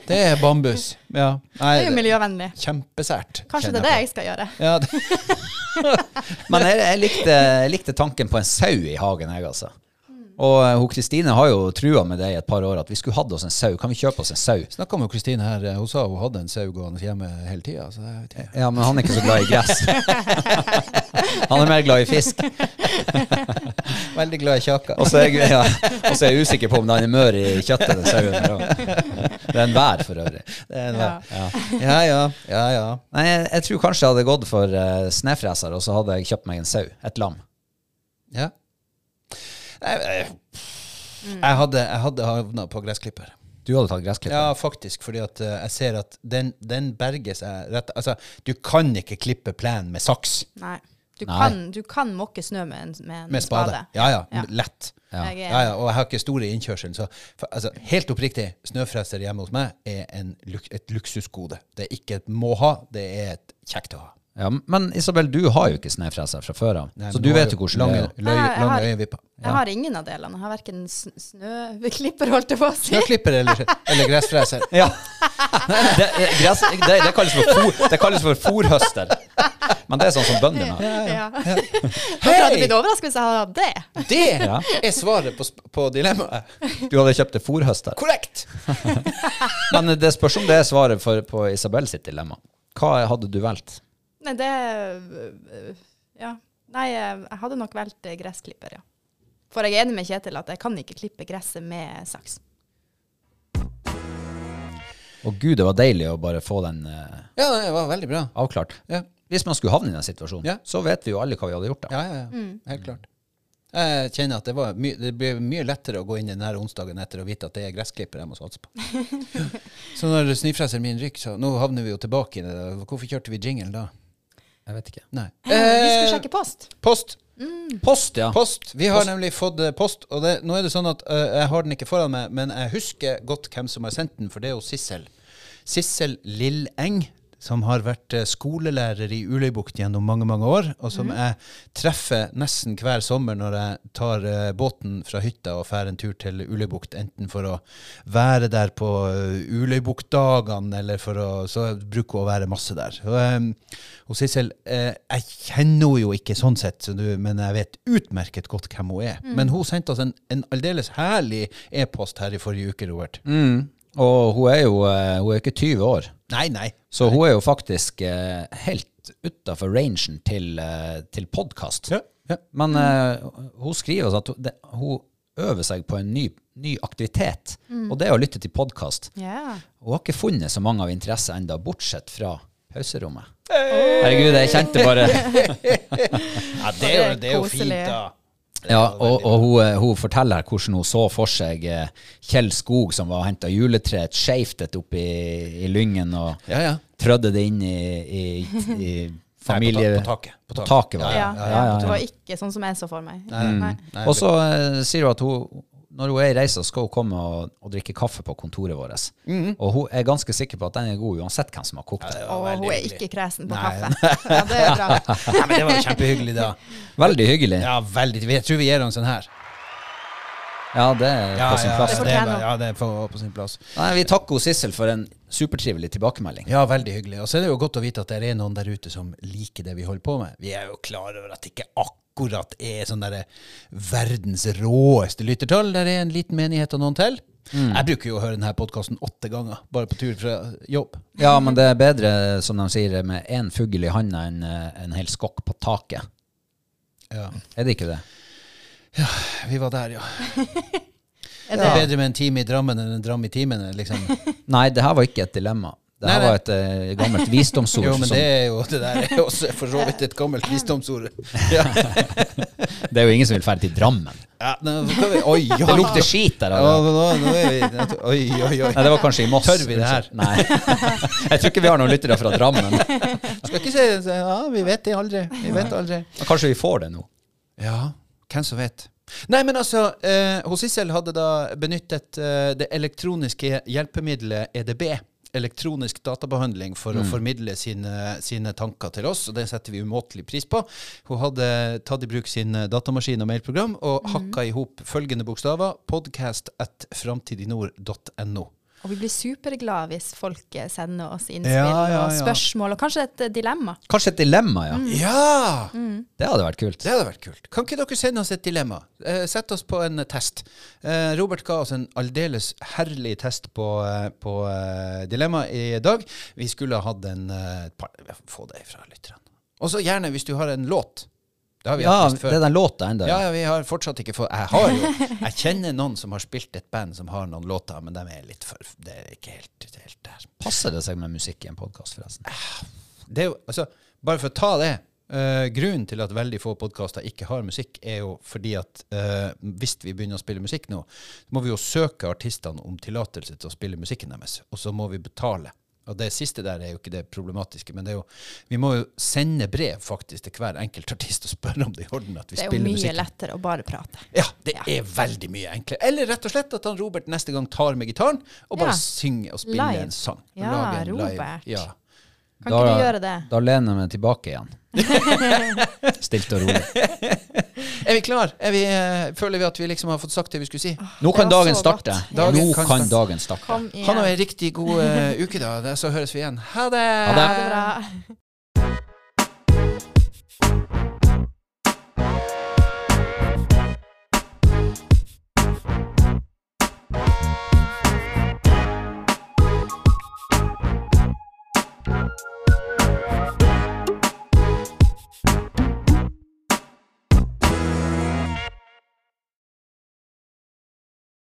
Speaker 2: det er bambus. Ja. Nei,
Speaker 1: Det er jo
Speaker 2: det,
Speaker 1: miljøvennlig.
Speaker 2: kjempesært.
Speaker 1: Kanskje det
Speaker 2: kjenner
Speaker 1: er det
Speaker 2: jeg på.
Speaker 1: jeg skal gjøre.
Speaker 2: Ja, det,
Speaker 3: Men jeg, jeg, likte, jeg likte tanken på en sau i hagen, jeg, altså. Og eh, hun Kristine har jo trua med det i et par år, at vi skulle hatt oss en sau. Kan vi kjøpe oss en sau?
Speaker 2: Snakka med Kristine her. Hun sa hun hadde en sau gående hjemme hele tida. Så jeg vet ikke.
Speaker 3: Ja, men han er ikke så glad i gress. Han er mer glad i fisk.
Speaker 2: Veldig glad i kjaka.
Speaker 3: Og så er jeg, ja, og så er jeg usikker på om den er mør i kjøttet, den sauen. her også. Det er en vær, for øvrig.
Speaker 1: Ja.
Speaker 2: Ja, ja. ja, ja.
Speaker 3: Nei, jeg, jeg tror kanskje jeg hadde gått eh, for uh, snøfreser, og så hadde jeg kjøpt meg en sau. Et lam.
Speaker 2: ja. Jeg, eh, jeg hadde, jeg hadde havna på gressklipper.
Speaker 3: Du hadde tatt gressklipper?
Speaker 2: Ja, faktisk, fordi at eh, jeg ser at den, den berger seg rett Altså, du kan ikke klippe plenen med saks.
Speaker 1: Nei. Du,
Speaker 3: Nei.
Speaker 1: Kan, du kan måke snø med en, med en
Speaker 2: Med spade. Ja, ja,
Speaker 1: Ja.
Speaker 2: lett.
Speaker 3: Ja.
Speaker 1: Jeg er-
Speaker 2: Ja, ja, og jeg har ikke store innkjørselen, så for, altså, helt oppriktig, snøfreser hjemme hos meg er en, luk- et luksusgode. Det er ikke et må ha, det er et kjekt å ha.
Speaker 3: Ja, men Isabel, du har jo ikke snøfreser fra før av,
Speaker 2: Nei,
Speaker 3: så
Speaker 2: men
Speaker 3: du
Speaker 2: nå har
Speaker 3: vet
Speaker 2: du
Speaker 3: jo hvordan
Speaker 2: lange,
Speaker 3: det er.
Speaker 2: løy-
Speaker 1: Jeg har-
Speaker 2: lange øyevipper.
Speaker 1: Jeg har ingen av delene. Jeg har verken snøklipper, holdt jeg på å si.
Speaker 2: Snøklipper eller, eller gressfreser.
Speaker 3: Ja. Det, det- gress, det, det, kalles for fôr, det kalles for fôrhøster. Men det er sånn som bøndene har.
Speaker 1: Ja. Jeg hadde blitt
Speaker 2: Hei!
Speaker 1: overrasket hvis jeg hadde hatt det.
Speaker 2: Det
Speaker 3: Ja.
Speaker 2: er svaret på, sp- på dilemmaet.
Speaker 3: Du hadde kjøpt det fôrhøster.
Speaker 2: Korrekt!
Speaker 3: Men det spørs om det er svaret for, på Isabel sitt dilemma. Hva hadde du valgt?
Speaker 1: Nei, det øh, Ja. Nei, jeg jeg hadde nok valgt eh, gressklipper, ja. For jeg er enig med Kjetil at jeg kan ikke klippe gresset med saks.
Speaker 3: Å gud, det var deilig å bare få den eh,
Speaker 2: Ja, det var veldig bra.
Speaker 3: avklart.
Speaker 2: Ja.
Speaker 3: Hvis man skulle havne i den situasjonen,
Speaker 2: Ja.
Speaker 3: så vet vi jo alle hva vi hadde gjort da.
Speaker 2: Ja, ja, ja.
Speaker 1: Mm.
Speaker 2: Helt klart. Jeg kjenner at det, var my det ble mye lettere å gå inn den her onsdagen etter å vite at det er gressklipper jeg må satse på. så når snøfreseren min ryker, så Nå havner vi jo tilbake i det. der. Hvorfor kjørte vi jingle da?
Speaker 3: Jeg vet ikke.
Speaker 2: Nei.
Speaker 1: Vi skulle
Speaker 2: Eh,
Speaker 1: sjekke post.
Speaker 2: post!
Speaker 3: Post, ja.
Speaker 2: Post! Vi har nemlig fått eh, post, og det, nå er det sånn at eh, jeg har den ikke foran meg, men jeg husker godt hvem som har sendt den, for det er jo Sissel. Sissel Lilleng, som har vært eh, skolelærer i Uløybukt gjennom mange, mange år, og som jeg treffer nesten hver sommer når jeg tar eh, båten fra hytta og drar en tur til Uløybukt, enten for å være der på eh, Uløybuktdagene, eller for å Så bruker hun å være masse der. Og, eh, og Sissel, eh, jeg kjenner henne jo ikke sånn sett, så du, men jeg vet utmerket godt hvem hun er. Men hun sendte oss en, en aldeles herlig e-post her i forrige uke, Robert.
Speaker 3: Mm. Og hun er jo eh, hun er ikke 20 år,
Speaker 2: Nei, nei.
Speaker 3: så hun er jo faktisk eh, helt utafor rangen til, eh, til podkast.
Speaker 2: Ja, ja.
Speaker 3: Men eh, hun skriver altså at hun, det, hun øver seg på en ny, ny aktivitet, og det er å lytte til podkast.
Speaker 1: Ja.
Speaker 3: Hun har ikke funnet så mange av interesse enda, bortsett fra pauserommet. Herregud, jeg kjente bare
Speaker 2: ja det,
Speaker 1: det
Speaker 2: er
Speaker 1: er
Speaker 2: jo, det er jo
Speaker 1: koselig.
Speaker 2: fint, da.
Speaker 3: Ja, og, og hun, eh, hun forteller hvordan hun så for seg eh, Kjell Skog som var henta juletreet skeivt et opp i, i lyngen og
Speaker 2: Ja, ja.
Speaker 3: trødde det inn i, i, i familie...
Speaker 2: Nei, på, ta- på taket. På taket.
Speaker 3: var
Speaker 1: Ja,
Speaker 3: det.
Speaker 1: ja,
Speaker 3: Ja, ja, ja.
Speaker 1: Det var ikke sånn som jeg så for meg.
Speaker 2: Nei, nei. Nei,
Speaker 3: Og så eh, sier hun at hun, når hun er i reisa, skal hun komme og, og drikke kaffe på kontoret vårt.
Speaker 2: Mhm.
Speaker 3: Og hun er ganske sikker på at den er god uansett hvem som har kokt den.
Speaker 2: det
Speaker 1: Og
Speaker 2: var veldig
Speaker 1: hun er
Speaker 2: hyggelig.
Speaker 1: ikke kresen på
Speaker 2: Nei.
Speaker 1: kaffe. Ja, det er bra.
Speaker 2: Nei, men det var jo kjempehyggelig, da.
Speaker 3: Veldig hyggelig. Ja,
Speaker 2: Ja, veldig. Jeg tror vi gir henne en sånn her.
Speaker 3: det er
Speaker 2: Ja,
Speaker 3: på sin
Speaker 2: ja,
Speaker 3: plass.
Speaker 1: Det
Speaker 2: det,
Speaker 1: fortjener
Speaker 2: var-
Speaker 1: hun.
Speaker 2: ja, det er på, på sin plass.
Speaker 3: Nei, vi takker hun Sissel for en supertrivelig tilbakemelding.
Speaker 2: Ja, veldig hyggelig. Og så er det jo godt å vite at det er noen der ute som liker det vi holder på med. Vi er jo klar over at det ikke akkurat er sånn derre verdens råeste lyttertall. Der er en liten menighet og noen til.
Speaker 3: Mm.
Speaker 2: Jeg bruker jo å høre denne podkasten åtte ganger, bare på tur fra jobb.
Speaker 3: Ja, men det er bedre, som de sier, med én fugl i handa enn eh, en hel skokk på taket.
Speaker 2: Ja,
Speaker 3: Er det ikke det?
Speaker 2: Vi var der, ja.
Speaker 1: Er
Speaker 2: Det er
Speaker 1: det,
Speaker 2: bedre med en time i Drammen enn en dram i timen, liksom.
Speaker 3: Nei, det her var ikke et dilemma. Det
Speaker 2: Nei,
Speaker 3: her
Speaker 2: nei.
Speaker 3: var et eh, gammelt visdomsord.
Speaker 2: Jo, men
Speaker 3: som-
Speaker 2: det er jo det der er jo også for så vidt et gammelt visdomsord. Ja.
Speaker 3: det er jo ingen som vil dra til Drammen.
Speaker 2: Ja, nå skal vi- oi, oi,
Speaker 3: Det lukter skit der.
Speaker 2: Ja,
Speaker 3: altså.
Speaker 2: nå, nå er vi, oi, oi, oi.
Speaker 3: Nei, det var kanskje i Moss.
Speaker 2: Tør vi det her?
Speaker 3: Nei. Jeg tror ikke vi har noen lyttere fra Drammen. Men
Speaker 2: Skal ikke si ja, vi vet det aldri. Vi vet aldri.
Speaker 3: kanskje vi får det nå.
Speaker 2: Ja, hvem som vet. Nei, men altså, eh, hos Sissel hadde da benyttet eh, det elektroniske hjelpemiddelet EDB, elektronisk databehandling, for å formidle sine, sine tanker til oss, og det setter vi umåtelig pris på. Hun hadde tatt i bruk sin eh, datamaskin og mailprogram, og hakka i hop følgende bokstaver, podcast at framtidinord.no.
Speaker 1: og vi blir superglade hvis folk eh, sender oss innspill
Speaker 2: Ja, ja,
Speaker 1: og
Speaker 2: ja.
Speaker 1: spørsmål, og kanskje et eh, dilemma.
Speaker 3: Kanskje et dilemma, ja.
Speaker 1: Mm.
Speaker 2: Ja!
Speaker 3: Det hadde vært kult.
Speaker 2: Det hadde vært kult. Kan ikke dere sende oss et dilemma? Eh, sett oss på en eh, test. Eh, Robert ga oss en aldeles herlig test på, eh, på eh, dilemma i dag. Vi skulle ha hatt en eh, et par, Få det fra lytterne. Og så gjerne hvis du har en låt. Det har vi
Speaker 3: Ja,
Speaker 2: hatt mest
Speaker 3: det er
Speaker 2: før.
Speaker 3: den låta enda.
Speaker 2: Ja, ja, vi har fortsatt ikke fått Jeg har jo Jeg kjenner noen som har spilt et band som har noen låter, men de er litt for Det er ikke helt, det er helt der.
Speaker 3: Passer det seg med musikk i en podkast, forresten?
Speaker 2: Det er jo Altså, bare for å ta det Eh, grunnen til at veldig få podkaster ikke har musikk, er jo fordi at eh, hvis vi begynner å spille musikk nå, så må vi jo søke artistene om tillatelse til å spille musikken deres, og så må vi betale. Og det siste der er jo ikke det problematiske, men det er jo, vi må jo sende brev faktisk til hver enkelt artist og spørre om det er i orden at vi
Speaker 1: Det er jo
Speaker 2: spiller
Speaker 1: mye
Speaker 2: musikken.
Speaker 1: lettere å bare prate.
Speaker 2: Ja, det er veldig mye enklere. Eller rett og slett at han Robert neste gang tar med gitaren og bare
Speaker 1: Ja.
Speaker 2: synger og spiller
Speaker 1: Live.
Speaker 2: en sang.
Speaker 1: Ja,
Speaker 2: Lager en
Speaker 1: Robert.
Speaker 2: Live. Ja,
Speaker 1: Kan ikke du gjøre det?
Speaker 3: Da lener jeg meg tilbake igjen. Stilt og rolig.
Speaker 2: Er vi klar? Er vi, eh, føler vi at vi liksom har fått sagt det vi skulle si?
Speaker 3: Nå kan
Speaker 1: Det var
Speaker 3: dagen
Speaker 1: så
Speaker 3: starte.
Speaker 1: godt.
Speaker 2: Dagen
Speaker 3: Nå
Speaker 2: kan
Speaker 3: kan
Speaker 2: starte.
Speaker 3: dagen starte.
Speaker 1: Kom
Speaker 2: Ha nå
Speaker 1: igjen.
Speaker 2: ei riktig god eh, uke, da. Så høres vi igjen. Ha det!
Speaker 3: Ha det.
Speaker 1: Ha det bra.